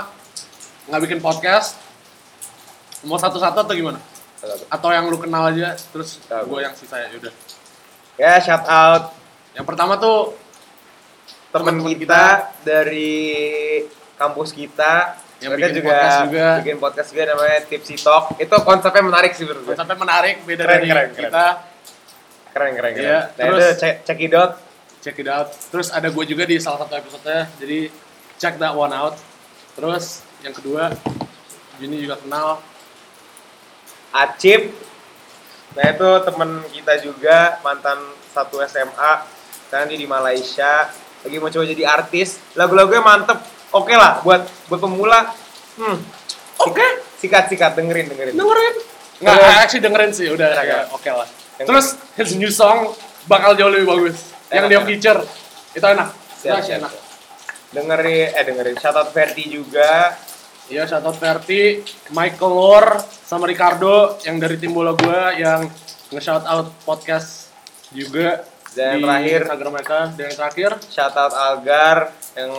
[SPEAKER 1] nggak bikin podcast. Mau satu-satu atau gimana? Atau yang lu kenal aja terus
[SPEAKER 2] Nggak,
[SPEAKER 1] gue
[SPEAKER 2] gua.
[SPEAKER 1] yang sisa ya yaudah.
[SPEAKER 2] ya shout out
[SPEAKER 1] Yang pertama tuh
[SPEAKER 2] teman
[SPEAKER 1] Teman-teman
[SPEAKER 2] kita,
[SPEAKER 1] kita.
[SPEAKER 2] dari kampus kita
[SPEAKER 1] Yang bikin podcast juga.
[SPEAKER 2] bikin podcast juga namanya Tipsy Talk itu konsepnya menarik sih menurut gue
[SPEAKER 1] konsepnya menarik beda
[SPEAKER 2] Keren,
[SPEAKER 1] dari
[SPEAKER 2] keren,
[SPEAKER 1] kita.
[SPEAKER 2] keren keren keren.
[SPEAKER 1] Iya,
[SPEAKER 2] nah
[SPEAKER 1] terus-
[SPEAKER 2] itu check, check it out
[SPEAKER 1] Check it out. Terus ada gue juga di salah satu episode-nya. Jadi check that one out. Terus yang kedua Juni juga kenal.
[SPEAKER 2] Acip nah itu temen kita juga mantan satu SMA sekarang dia di Malaysia lagi mau coba jadi artis lagu-lagunya mantep oke lah buat buat pemula hmm
[SPEAKER 1] Oke.
[SPEAKER 2] sikat sikat dengerin dengerin
[SPEAKER 1] dengerin nggak
[SPEAKER 2] Terus?
[SPEAKER 1] I actually dengerin sih udah
[SPEAKER 2] Enak,
[SPEAKER 1] ya,
[SPEAKER 2] enak.
[SPEAKER 1] oke lah
[SPEAKER 2] Enak.
[SPEAKER 1] terus his new song bakal jauh lebih bagus yang
[SPEAKER 2] Enak,
[SPEAKER 1] dia
[SPEAKER 2] enak.
[SPEAKER 1] feature itu enak itu
[SPEAKER 2] Siap,
[SPEAKER 1] actually
[SPEAKER 2] siap,
[SPEAKER 1] enak
[SPEAKER 2] siap. dengerin eh dengerin shout out Ferdi juga
[SPEAKER 1] iya shout out Verti Michael Lor sama Ricardo yang dari tim bola gue yang nge shout out podcast juga di
[SPEAKER 2] Dan terakhir-
[SPEAKER 1] Instagram mereka dan yang terakhir
[SPEAKER 2] shout out Algar yang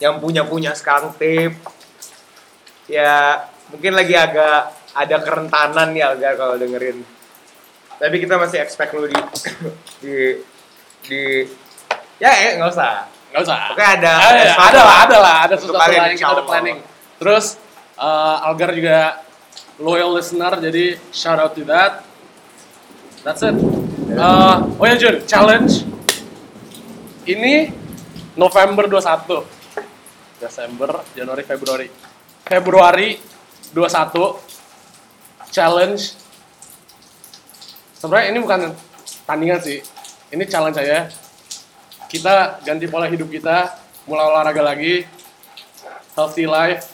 [SPEAKER 2] yang punya punya sekarang tip ya mungkin lagi agak ada kerentanan nih Algar kalau dengerin tapi kita masih expect lu di di di ya eh nggak usah
[SPEAKER 1] nggak usah Eh,
[SPEAKER 2] Oke, ada-
[SPEAKER 1] ada
[SPEAKER 2] ada
[SPEAKER 1] ada, lah ada lah ada
[SPEAKER 2] Untuk
[SPEAKER 1] sesuatu
[SPEAKER 2] kalian,
[SPEAKER 1] lah yang kita
[SPEAKER 2] insya
[SPEAKER 1] ada
[SPEAKER 2] Allah.
[SPEAKER 1] planning terus eh, Algar juga loyal listener jadi shout out to that that's it Eh, oh ya Jun challenge ini November 21 Desember, Januari, Februari. Februari 21 challenge. Sebenarnya ini bukan tandingan sih. Ini challenge saya. Kita ganti pola hidup kita, mulai olahraga lagi, healthy life,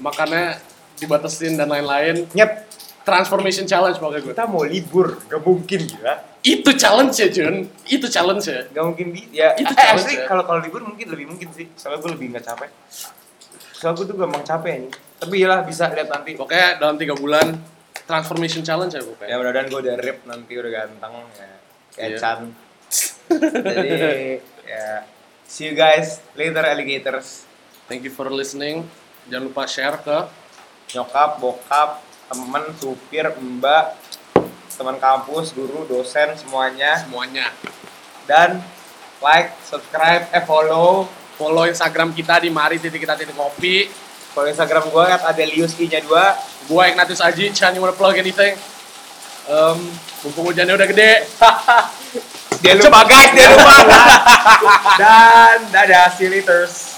[SPEAKER 1] makannya dibatasin dan lain-lain.
[SPEAKER 2] Nyet,
[SPEAKER 1] Transformation challenge pokoknya gue.
[SPEAKER 2] kita mau libur, gak mungkin gila.
[SPEAKER 1] Itu challenge ya, Jun. Itu challenge ya.
[SPEAKER 2] Gak mungkin di, ya.
[SPEAKER 1] Itu
[SPEAKER 2] Itu
[SPEAKER 1] challenge
[SPEAKER 2] actually
[SPEAKER 1] ya.
[SPEAKER 2] kalau kalau libur mungkin lebih mungkin sih. Soalnya gue lebih nggak capek. Soalnya gue tuh gampang capek ini. Tapi iyalah bisa lihat nanti.
[SPEAKER 1] Pokoknya dalam tiga bulan transformation challenge ya
[SPEAKER 2] Ya
[SPEAKER 1] pokoknya.
[SPEAKER 2] mudah-mudahan gue udah rip nanti udah ganteng ya. Kayak
[SPEAKER 1] Iya.
[SPEAKER 2] Chan. Jadi ya see you guys later alligators.
[SPEAKER 1] Thank you for listening. Jangan lupa share ke
[SPEAKER 2] Nyokap, bokap, temen, supir, mbak, teman kampus, guru, dosen semuanya
[SPEAKER 1] semuanya.
[SPEAKER 2] dan like, subscribe, eh follow
[SPEAKER 1] Follow Instagram kita di mari titik kita titik kopi.
[SPEAKER 2] follow Instagram gue at Adelius I nya 2
[SPEAKER 1] Gua Ignatius Aji, Chan you wanna plug anything?
[SPEAKER 2] um,
[SPEAKER 1] Mumpung hujannya udah gede.
[SPEAKER 2] dia lupa guys dia lupa dan dadah see you later